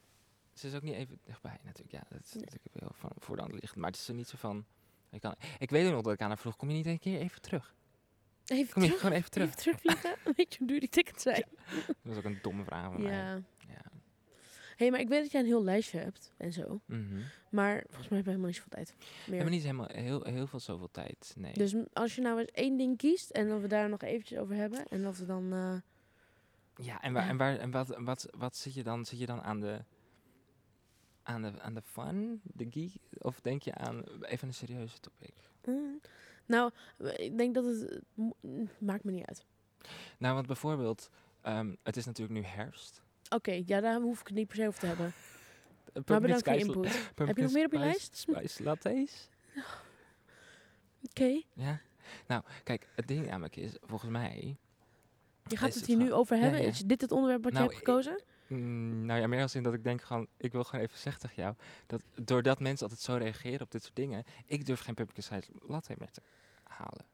Speaker 1: Ze is ook niet even dichtbij natuurlijk. Ja, dat is
Speaker 2: Nee.
Speaker 1: natuurlijk wel van voor de hand liggend. Maar het is er niet zo van... Ik, kan, ik weet ook nog dat ik aan haar vroeg, kom je niet een keer even terug?
Speaker 2: Even
Speaker 1: Kom je
Speaker 2: terug,
Speaker 1: gewoon even terug?
Speaker 2: even terugvliegen. [LAUGHS] Weet je hoe duur die tickets zijn?
Speaker 1: Dat was ook een domme vraag van
Speaker 2: Ja.
Speaker 1: mij. Ja.
Speaker 2: hey, maar ik weet dat jij een heel lijstje hebt en zo.
Speaker 1: Mhm.
Speaker 2: Maar volgens mij heb je helemaal niet zoveel tijd
Speaker 1: We
Speaker 2: meer.
Speaker 1: hebben niet helemaal, heel, heel veel zoveel tijd. Nee.
Speaker 2: Dus m- als je nou eens één ding kiest en dat we daar nog eventjes over hebben. En dat we dan... eh,
Speaker 1: Ja, en, waar, en, waar, en wat, wat, wat zit je dan? Zit je dan aan de, aan de, aan de fun, de geek? Of denk je aan even een serieuze topic?
Speaker 2: mm. nou, w- ik denk dat het... eh, mo- mm, Maakt me niet uit.
Speaker 1: Nou, want bijvoorbeeld, ehm, het is natuurlijk nu herfst.
Speaker 2: Oké, ja, daar hoef ik het niet per se over te hebben.
Speaker 1: Eh,
Speaker 2: Maar
Speaker 1: pumpkin
Speaker 2: bedankt voor je
Speaker 1: spice la-
Speaker 2: input. Heb je
Speaker 1: pumpkin
Speaker 2: nog meer op je
Speaker 1: spice-
Speaker 2: lijst? Oké.
Speaker 1: Spice lattes? Ja. Nou, kijk, het ding namelijk is, volgens mij...
Speaker 2: Je
Speaker 1: Is
Speaker 2: gaat het
Speaker 1: het
Speaker 2: hier nu
Speaker 1: gewoon-
Speaker 2: over hebben?
Speaker 1: ja.
Speaker 2: Is dit het onderwerp wat
Speaker 1: Nou,
Speaker 2: je hebt
Speaker 1: ik-
Speaker 2: gekozen?
Speaker 1: mm, nou ja, meer als in dat ik denk gewoon, ik wil gewoon even zeggen tegen jou, dat doordat mensen altijd zo reageren op dit soort dingen, ik durf geen pumpkin spice latte meer te halen.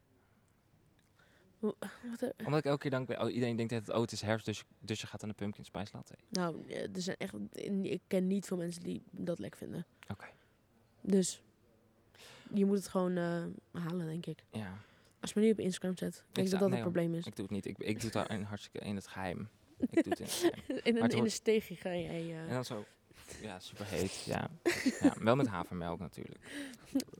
Speaker 2: Wat, eh,
Speaker 1: Omdat ik elke keer denk, oh, iedereen denkt dat het, oh, het is herfst, dus, dus je gaat aan de pumpkin spice latte.
Speaker 2: Nou, eh, er zijn echt, ik ken niet veel mensen die dat lek vinden.
Speaker 1: Oké.
Speaker 2: Dus je moet het gewoon eh, halen, denk ik.
Speaker 1: Ja,
Speaker 2: Als je me nu op Instagram zet, denk ik
Speaker 1: zou-
Speaker 2: dat dat
Speaker 1: nee,
Speaker 2: het probleem is.
Speaker 1: ik doe het niet. Ik, ik doe het al in hartstikke in het geheim. Ik doe het in [LAUGHS] het geheim.
Speaker 2: [LAUGHS] In een,
Speaker 1: het
Speaker 2: in een
Speaker 1: wordt-
Speaker 2: steegje ga jij... eh,
Speaker 1: En dan zo, ja, superheet. Ja. ja, wel met havermelk natuurlijk.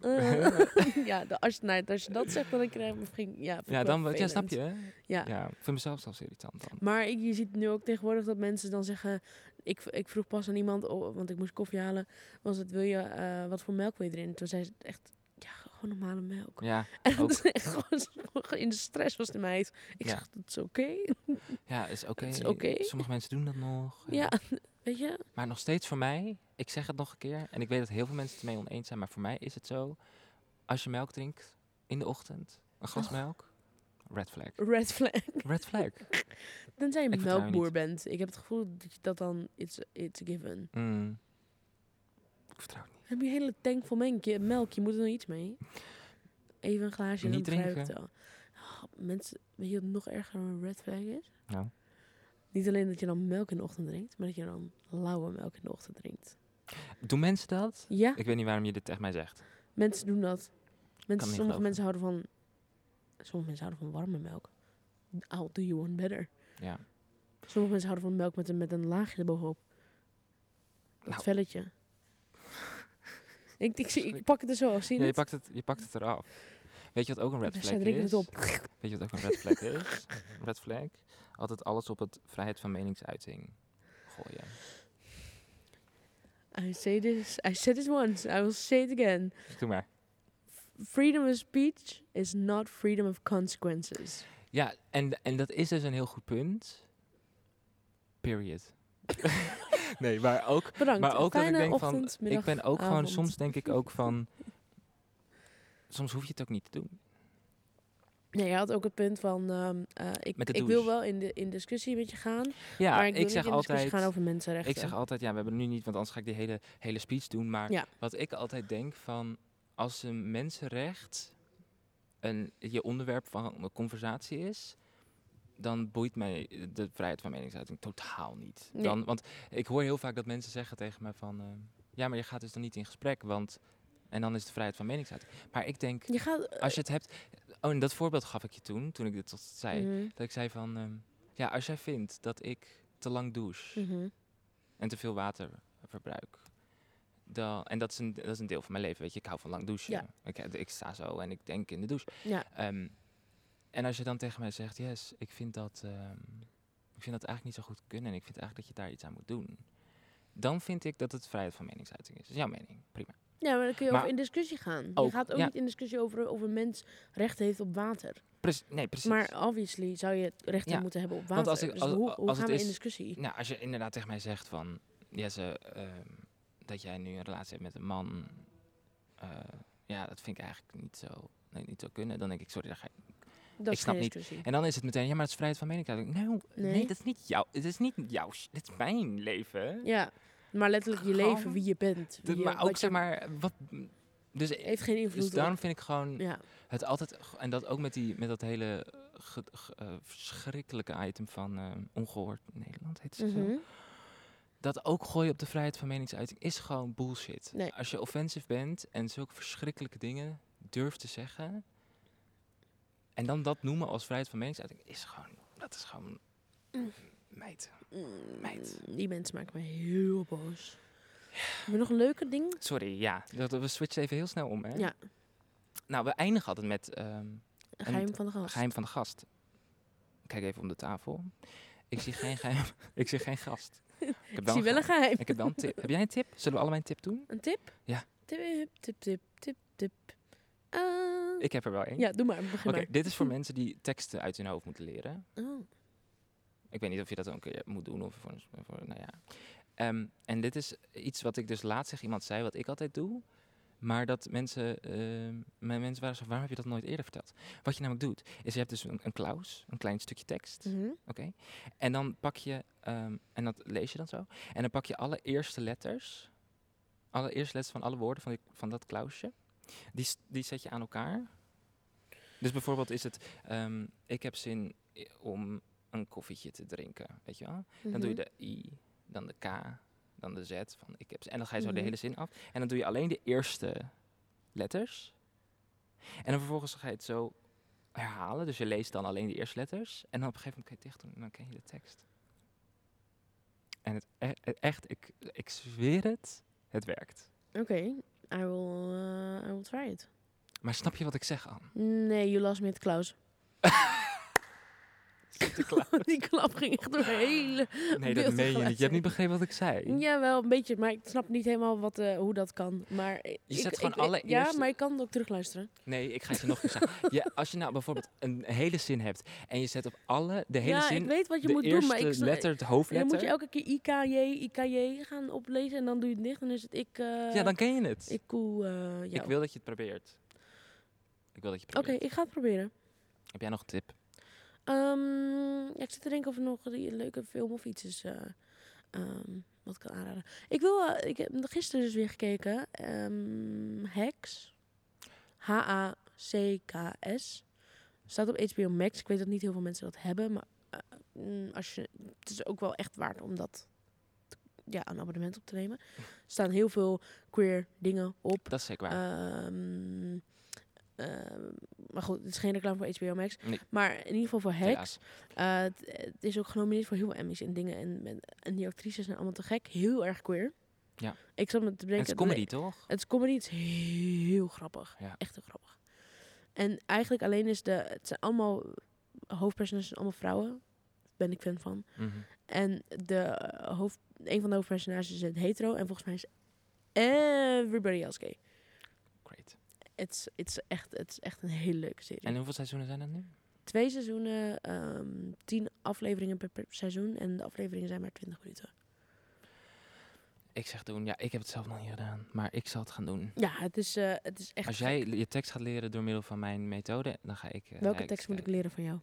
Speaker 2: eh, [LAUGHS] ja, de, als, je, nou, als je dat zegt, dan krijg ik misschien... Ja, vind ik
Speaker 1: Ja,
Speaker 2: wel
Speaker 1: dan, wat- ja, snap
Speaker 2: vervelend.
Speaker 1: je? hè?
Speaker 2: Ja.
Speaker 1: ja. Ik vind mezelf zelfs irritant dan.
Speaker 2: Maar ik- je ziet nu ook tegenwoordig dat mensen dan zeggen... Ik, v- ik vroeg pas aan iemand, oh, want ik moest koffie halen... Was het, wil je, eh, wat voor melk wil je erin? Toen zei ze echt, ja, gewoon normale melk.
Speaker 1: Ja,
Speaker 2: En dat
Speaker 1: ook.
Speaker 2: is echt gewoon zo- in de stress was de meid. Ik
Speaker 1: Ja.
Speaker 2: zeg, dat is oké.
Speaker 1: ja is oké.
Speaker 2: Het is oké.
Speaker 1: Sommige mensen doen dat nog.
Speaker 2: Ja, weet je?
Speaker 1: Maar nog steeds voor mij, ik zeg het nog een keer, en ik weet dat heel veel mensen het ermee oneens zijn, maar voor mij is het zo, als je melk drinkt in de ochtend, een glas
Speaker 2: Oh.
Speaker 1: melk, red
Speaker 2: [LAUGHS]
Speaker 1: flag.
Speaker 2: Red flag.
Speaker 1: Red flag.
Speaker 2: Tenzij je
Speaker 1: Ik vertrouw je
Speaker 2: melkboer
Speaker 1: niet.
Speaker 2: bent. Ik heb het gevoel dat je dat dan... It's, it's a given.
Speaker 1: Mm. Ik vertrouw het niet.
Speaker 2: Heb je een hele tank vol menkje, melk? Je moet er nog iets mee. Even een glaasje en
Speaker 1: Niet
Speaker 2: dan begrijp ik
Speaker 1: drinken.
Speaker 2: het wel. Oh, mensen, weet je wat nog erger dan een red flag is?
Speaker 1: Nou?
Speaker 2: Niet alleen dat je dan melk in de ochtend drinkt, maar dat je dan lauwe melk in de ochtend drinkt.
Speaker 1: Doen mensen dat?
Speaker 2: Ja,
Speaker 1: Ik weet niet waarom je dit tegen mij zegt.
Speaker 2: mensen doen dat. Mensen,
Speaker 1: niet
Speaker 2: sommige
Speaker 1: geloven.
Speaker 2: mensen houden van... Sommige mensen houden van warme melk. I'll do you one better.
Speaker 1: Ja.
Speaker 2: Sommige mensen houden van melk met een, met een laagje erbovenop. Dat
Speaker 1: Nou.
Speaker 2: velletje. ik, ik, zie, ik pak het er zo af, zie je
Speaker 1: ja je,
Speaker 2: het?
Speaker 1: pakt het, je pakt het eraf. Weet je wat ook een red
Speaker 2: Dus
Speaker 1: flag
Speaker 2: zij drinken
Speaker 1: is?
Speaker 2: het op.
Speaker 1: Weet je wat ook een red flag is? Een red flag? Altijd alles op het vrijheid van meningsuiting gooien.
Speaker 2: I say this, I said this once, I will say it again.
Speaker 1: Doe maar.
Speaker 2: Freedom of speech is not freedom of consequences.
Speaker 1: Ja, en, en dat is dus een heel goed punt. Period. [LAUGHS] nee, maar ook,
Speaker 2: Bedankt.
Speaker 1: maar ook dat ik
Speaker 2: Fijne
Speaker 1: denk van...
Speaker 2: ochtend, middag,
Speaker 1: ik ben ook gewoon,
Speaker 2: avond.
Speaker 1: soms denk ik ook
Speaker 2: [LAUGHS]
Speaker 1: van... Soms hoef je het ook niet te doen.
Speaker 2: Nee, je had ook het punt van... ehm, eh, ik,
Speaker 1: Met de
Speaker 2: ik wil
Speaker 1: douche.
Speaker 2: wel in, de, in discussie met je gaan,
Speaker 1: Ja,
Speaker 2: maar ik wil
Speaker 1: ik
Speaker 2: niet
Speaker 1: zeg
Speaker 2: in discussie
Speaker 1: altijd...
Speaker 2: gaan over mensenrechten.
Speaker 1: Ik zeg altijd, ja, we hebben het nu niet, want anders ga ik die hele, hele speech doen. Maar
Speaker 2: Ja.
Speaker 1: wat ik altijd denk van, als een mensenrecht een, je onderwerp van een conversatie is, dan boeit mij de vrijheid van meningsuiting totaal niet.
Speaker 2: Nee.
Speaker 1: Dan, want ik hoor heel vaak dat mensen zeggen tegen mij van, eh, ja, maar je gaat dus dan niet in gesprek, want... En dan is de vrijheid van meningsuiting. Maar ik denk,
Speaker 2: Je gaat... eh,
Speaker 1: als je het hebt... Oh, en dat voorbeeld gaf ik je toen, toen ik dit tot zei.
Speaker 2: mhm,
Speaker 1: Dat ik zei van, ehm, ja, als jij vindt dat ik te lang douche
Speaker 2: mhm.
Speaker 1: en te veel water verbruik. Dan, en dat is, een, dat is een deel van mijn leven, weet je. Ik hou van lang douchen.
Speaker 2: Ja.
Speaker 1: Ik, eh, ik sta zo en ik denk in de douche.
Speaker 2: Ja.
Speaker 1: Ehm, en als je dan tegen mij zegt, yes, ik vind, dat, ehm, ik vind dat eigenlijk niet zo goed kunnen. En ik vind eigenlijk dat je daar iets aan moet doen. Dan vind ik dat het vrijheid van meningsuiting is. Dat is jouw mening, prima.
Speaker 2: Ja, maar dan kun je
Speaker 1: Maar-
Speaker 2: over in discussie gaan.
Speaker 1: Ook,
Speaker 2: je gaat ook
Speaker 1: ja.
Speaker 2: niet in discussie over of een mens recht heeft op water.
Speaker 1: Prec- nee, precies.
Speaker 2: Maar eh, obviously zou je recht
Speaker 1: Ja.
Speaker 2: moeten hebben op water.
Speaker 1: Want als ik-
Speaker 2: Dus
Speaker 1: als-
Speaker 2: hoe, hoe
Speaker 1: als het
Speaker 2: gaan we
Speaker 1: is-
Speaker 2: in discussie?
Speaker 1: Nou, als je inderdaad tegen mij zegt van... Jesse, ehm, dat jij nu een relatie hebt met een man... eh, ja, dat vind ik eigenlijk niet zo, nee, niet zo kunnen. Dan denk ik, sorry, daar ga ik...
Speaker 2: Dat
Speaker 1: ik
Speaker 2: is
Speaker 1: snap
Speaker 2: geen
Speaker 1: niet.
Speaker 2: discussie.
Speaker 1: En dan is het meteen, ja, maar het is vrijheid van meningsuiting. Nou, nee.
Speaker 2: Nee.
Speaker 1: dat is niet jouw... Het is niet jouw... sh- Dit is mijn leven.
Speaker 2: Ja, maar letterlijk je
Speaker 1: Gewoon
Speaker 2: leven, wie je bent.
Speaker 1: De-
Speaker 2: wie je-
Speaker 1: maar ook,
Speaker 2: wat je-
Speaker 1: zeg maar, wat... Dus,
Speaker 2: Heeft geen invloed
Speaker 1: dus
Speaker 2: op-
Speaker 1: daarom vind ik gewoon
Speaker 2: Ja,
Speaker 1: het altijd... En dat ook met, die, met dat hele ge- ge- eh, verschrikkelijke item van eh, ongehoord Nederland, heet het zo.
Speaker 2: Mhm.
Speaker 1: dat ook gooien op de vrijheid van meningsuiting is gewoon bullshit.
Speaker 2: Nee.
Speaker 1: Als je offensief bent en zulke verschrikkelijke dingen durft te zeggen. En dan dat noemen als vrijheid van meningsuiting is gewoon. Dat is gewoon.
Speaker 2: Mm.
Speaker 1: Meid.
Speaker 2: Mm,
Speaker 1: Meid.
Speaker 2: Die mensen maken me heel boos. Heb je nog een leuke ding?
Speaker 1: Sorry, ja. Dat, we switchen even heel snel om, hè?
Speaker 2: Ja.
Speaker 1: Nou, we eindigen altijd met ehm,
Speaker 2: Een geheim van de gast.
Speaker 1: geheim van de gast. Kijk even om de tafel. Ik zie geen geheim. [LAUGHS] Ik zie geen gast. Ik heb
Speaker 2: Ik zie wel een geheim.
Speaker 1: Ik heb wel een tip. Heb jij een tip? Zullen we allemaal een tip doen?
Speaker 2: [LAUGHS] Een tip?
Speaker 1: Ja.
Speaker 2: Tip, tip, tip, tip, tip. Ah.
Speaker 1: Ik heb er wel één.
Speaker 2: Ja, doe maar. Begin
Speaker 1: Oké, dit is voor mensen die teksten uit hun hoofd moeten leren.
Speaker 2: maar. Oh.
Speaker 1: Ik weet niet of je dat ook een keer moet doen of voor, een- voor nou ja. Ehm, en dit is iets wat ik dus laatst tegen iemand zei, wat ik altijd doe. Maar dat mensen, ehm, mijn mensen waren zo, waarom heb je dat nooit eerder verteld? Wat je namelijk doet, is je hebt dus een, een klaus, een klein stukje tekst.
Speaker 2: Mhm.
Speaker 1: Oké. En dan pak je, ehm, en dat lees je dan zo. En dan pak je alle eerste letters, alle eerste letters van alle woorden van, die, van dat klausje. Die, s- die zet je aan elkaar. Dus bijvoorbeeld is het, ehm, ik heb zin i- om een koffietje te drinken, weet je wel. Dan doe je
Speaker 2: Mhm.
Speaker 1: de i, dan de k, dan de z van ik heb zin. En dan ga je zo de
Speaker 2: Mhm.
Speaker 1: hele zin af. En dan doe je alleen de eerste letters. En dan vervolgens ga je het zo herhalen. Dus je leest dan alleen de eerste letters. En dan op een gegeven moment kan je het dicht doen en dan ken je de tekst. En het e- e- echt, ik, ik zweer het, het werkt.
Speaker 2: Oké, I, will, eh, I will try it.
Speaker 1: Maar snap je wat ik
Speaker 2: [LAUGHS]
Speaker 1: zeg, Anne?
Speaker 2: Nee, you lost me at Klaus. [LAUGHS]
Speaker 1: [LAUGHS]
Speaker 2: Die klap ging echt door de hele...
Speaker 1: Nee, dat
Speaker 2: Beeld
Speaker 1: meen je niet. Je hebt niet
Speaker 2: tegelijk.
Speaker 1: begrepen wat ik zei.
Speaker 2: Jawel, een beetje, maar ik snap niet helemaal wat, eh, hoe dat kan. Maar ik,
Speaker 1: zet
Speaker 2: ik-
Speaker 1: gewoon
Speaker 2: ik-
Speaker 1: alle
Speaker 2: Ja,
Speaker 1: eerste-
Speaker 2: maar ik kan het ook terugluisteren.
Speaker 1: Nee, ik ga het je nog eens zeggen.
Speaker 2: [LAUGHS]
Speaker 1: Ja, als je nou bijvoorbeeld een hele zin hebt en je zet op alle, de hele
Speaker 2: ja,
Speaker 1: zin,
Speaker 2: ik weet wat je
Speaker 1: de
Speaker 2: moet
Speaker 1: eerste
Speaker 2: doen, maar ik... sna-
Speaker 1: letter, het
Speaker 2: en dan moet
Speaker 1: hoofdletter,
Speaker 2: je elke keer IKJ, IKJ gaan oplezen en dan doe je het dicht. Dan is het ik... eh,
Speaker 1: ja, dan ken je het. Ik,
Speaker 2: Ik koel eh, jou.
Speaker 1: wil dat je het probeert. Ik wil dat je het
Speaker 2: Oké,
Speaker 1: probeert.
Speaker 2: ik ga het proberen.
Speaker 1: Heb jij nog een tip?
Speaker 2: Ehm, ja, ik zit te denken of er nog die leuke film of iets is eh, ehm, wat ik kan aanraden. Ik wil, eh, ik heb gisteren dus weer gekeken. ehm Hacks. H-A-C-K-S. Staat op HBO Max. Ik weet dat niet heel veel mensen dat hebben, maar eh, mm, als je, het is ook wel echt waard om dat te- ja, een abonnement op te nemen. Er staan heel veel queer dingen op.
Speaker 1: Dat is zeker waar.
Speaker 2: Ehm, ehm, maar goed, het is geen reclame voor HBO Max.
Speaker 1: Nee.
Speaker 2: Maar in ieder geval voor Hacks.
Speaker 1: Helaas.
Speaker 2: Eh, het, het is ook genomineerd voor heel veel Emmys en dingen. En, en, en die actrices zijn allemaal te gek. Heel erg queer.
Speaker 1: Ja.
Speaker 2: Ik zat me te bedenken...
Speaker 1: Het is comedy, toch?
Speaker 2: Het is comedy. Het is heel grappig.
Speaker 1: Ja.
Speaker 2: Echt heel grappig. En eigenlijk alleen is de... Het zijn allemaal... Hoofdpersonages zijn allemaal vrouwen. Ben ik fan van.
Speaker 1: Mhm.
Speaker 2: En de eh, hoofd, een van de hoofdpersonages is het hetero. En volgens mij is everybody else gay.
Speaker 1: Great.
Speaker 2: Het is echt, het is echt een hele leuke serie.
Speaker 1: En hoeveel seizoenen zijn er nu?
Speaker 2: Twee seizoenen, ehm, tien afleveringen per, per seizoen. En de afleveringen zijn maar twintig minuten.
Speaker 1: Ik zeg doen, ja, ik heb het zelf nog niet gedaan, maar ik zal het gaan doen.
Speaker 2: Ja, het is, eh, het is echt...
Speaker 1: Als jij je tekst gaat leren door middel van mijn methode, dan ga ik... eh,
Speaker 2: Welke
Speaker 1: ga
Speaker 2: tekst moet ik
Speaker 1: kijken.
Speaker 2: leren van jou?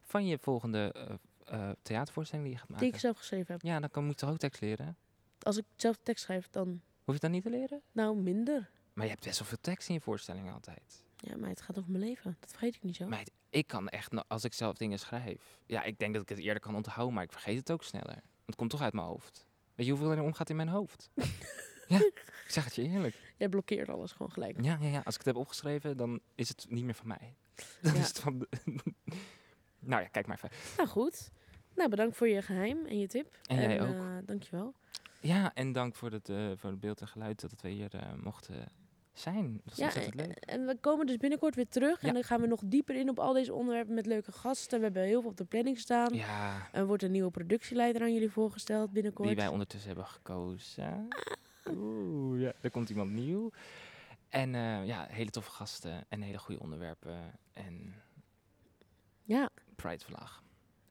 Speaker 1: Van je volgende eh, eh, theatervoorstelling die je gaat
Speaker 2: Die
Speaker 1: maken.
Speaker 2: ik zelf geschreven heb.
Speaker 1: Ja, dan kan, moet je toch ook tekst leren?
Speaker 2: Als ik zelf tekst schrijf, dan...
Speaker 1: Hoef je dat niet te leren?
Speaker 2: Nou, minder.
Speaker 1: Maar je hebt best wel veel tekst in je voorstelling altijd.
Speaker 2: Ja, maar het gaat over mijn leven. Dat vergeet ik niet zo.
Speaker 1: Meid, ik kan echt, no- als ik zelf dingen schrijf... Ja, ik denk dat ik het eerder kan onthouden, maar ik vergeet het ook sneller. Want het komt toch uit mijn hoofd. Weet je hoeveel er omgaat in mijn
Speaker 2: [LAUGHS]
Speaker 1: hoofd? ja, ik zeg het je eerlijk.
Speaker 2: Jij blokkeert alles gewoon
Speaker 1: [LAUGHS]
Speaker 2: gelijk.
Speaker 1: Ja, ja, ja, als ik het heb opgeschreven, dan is het niet meer van mij. [LAUGHS] Dan
Speaker 2: Ja.
Speaker 1: is het van... de- [LAUGHS] nou ja, kijk maar even.
Speaker 2: Nou, goed. Nou, bedankt voor je geheim en je tip.
Speaker 1: En jij ook.
Speaker 2: eh, dankjewel.
Speaker 1: Ja, en dank voor het, eh, voor het beeld en geluid dat we hier eh, mochten zijn. Dat was
Speaker 2: Ja, eh,
Speaker 1: ontzettend
Speaker 2: en,
Speaker 1: leuk.
Speaker 2: en we komen dus binnenkort weer terug.
Speaker 1: Ja.
Speaker 2: En dan gaan we nog dieper in op al deze onderwerpen met leuke gasten. We hebben heel veel op de planning staan.
Speaker 1: Ja,
Speaker 2: Er wordt een nieuwe productieleider aan jullie voorgesteld binnenkort. Ah.
Speaker 1: die wij ondertussen hebben gekozen. Oeh, ja. er komt iemand nieuw. En eh, ja, hele toffe gasten en hele goede onderwerpen. En
Speaker 2: Ja,
Speaker 1: Pride Vlag.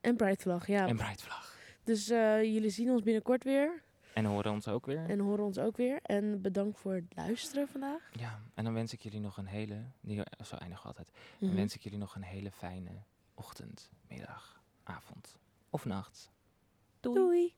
Speaker 2: en Pride Vlag, ja.
Speaker 1: En Pride Vlag.
Speaker 2: Dus eh, jullie zien ons binnenkort weer
Speaker 1: En horen ons ook weer.
Speaker 2: en horen ons ook weer. En bedankt voor het luisteren vandaag.
Speaker 1: Ja, en dan wens ik jullie nog een hele... Die, zo eindigen we altijd. Dan
Speaker 2: Mhm.
Speaker 1: wens ik jullie nog een hele fijne ochtend, middag, avond of nacht.
Speaker 2: Doei.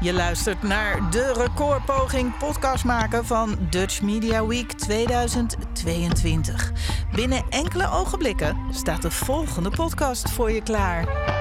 Speaker 4: Je luistert naar de recordpoging podcast maken van Dutch Media Week 2022. Binnen enkele ogenblikken staat de volgende podcast voor je klaar.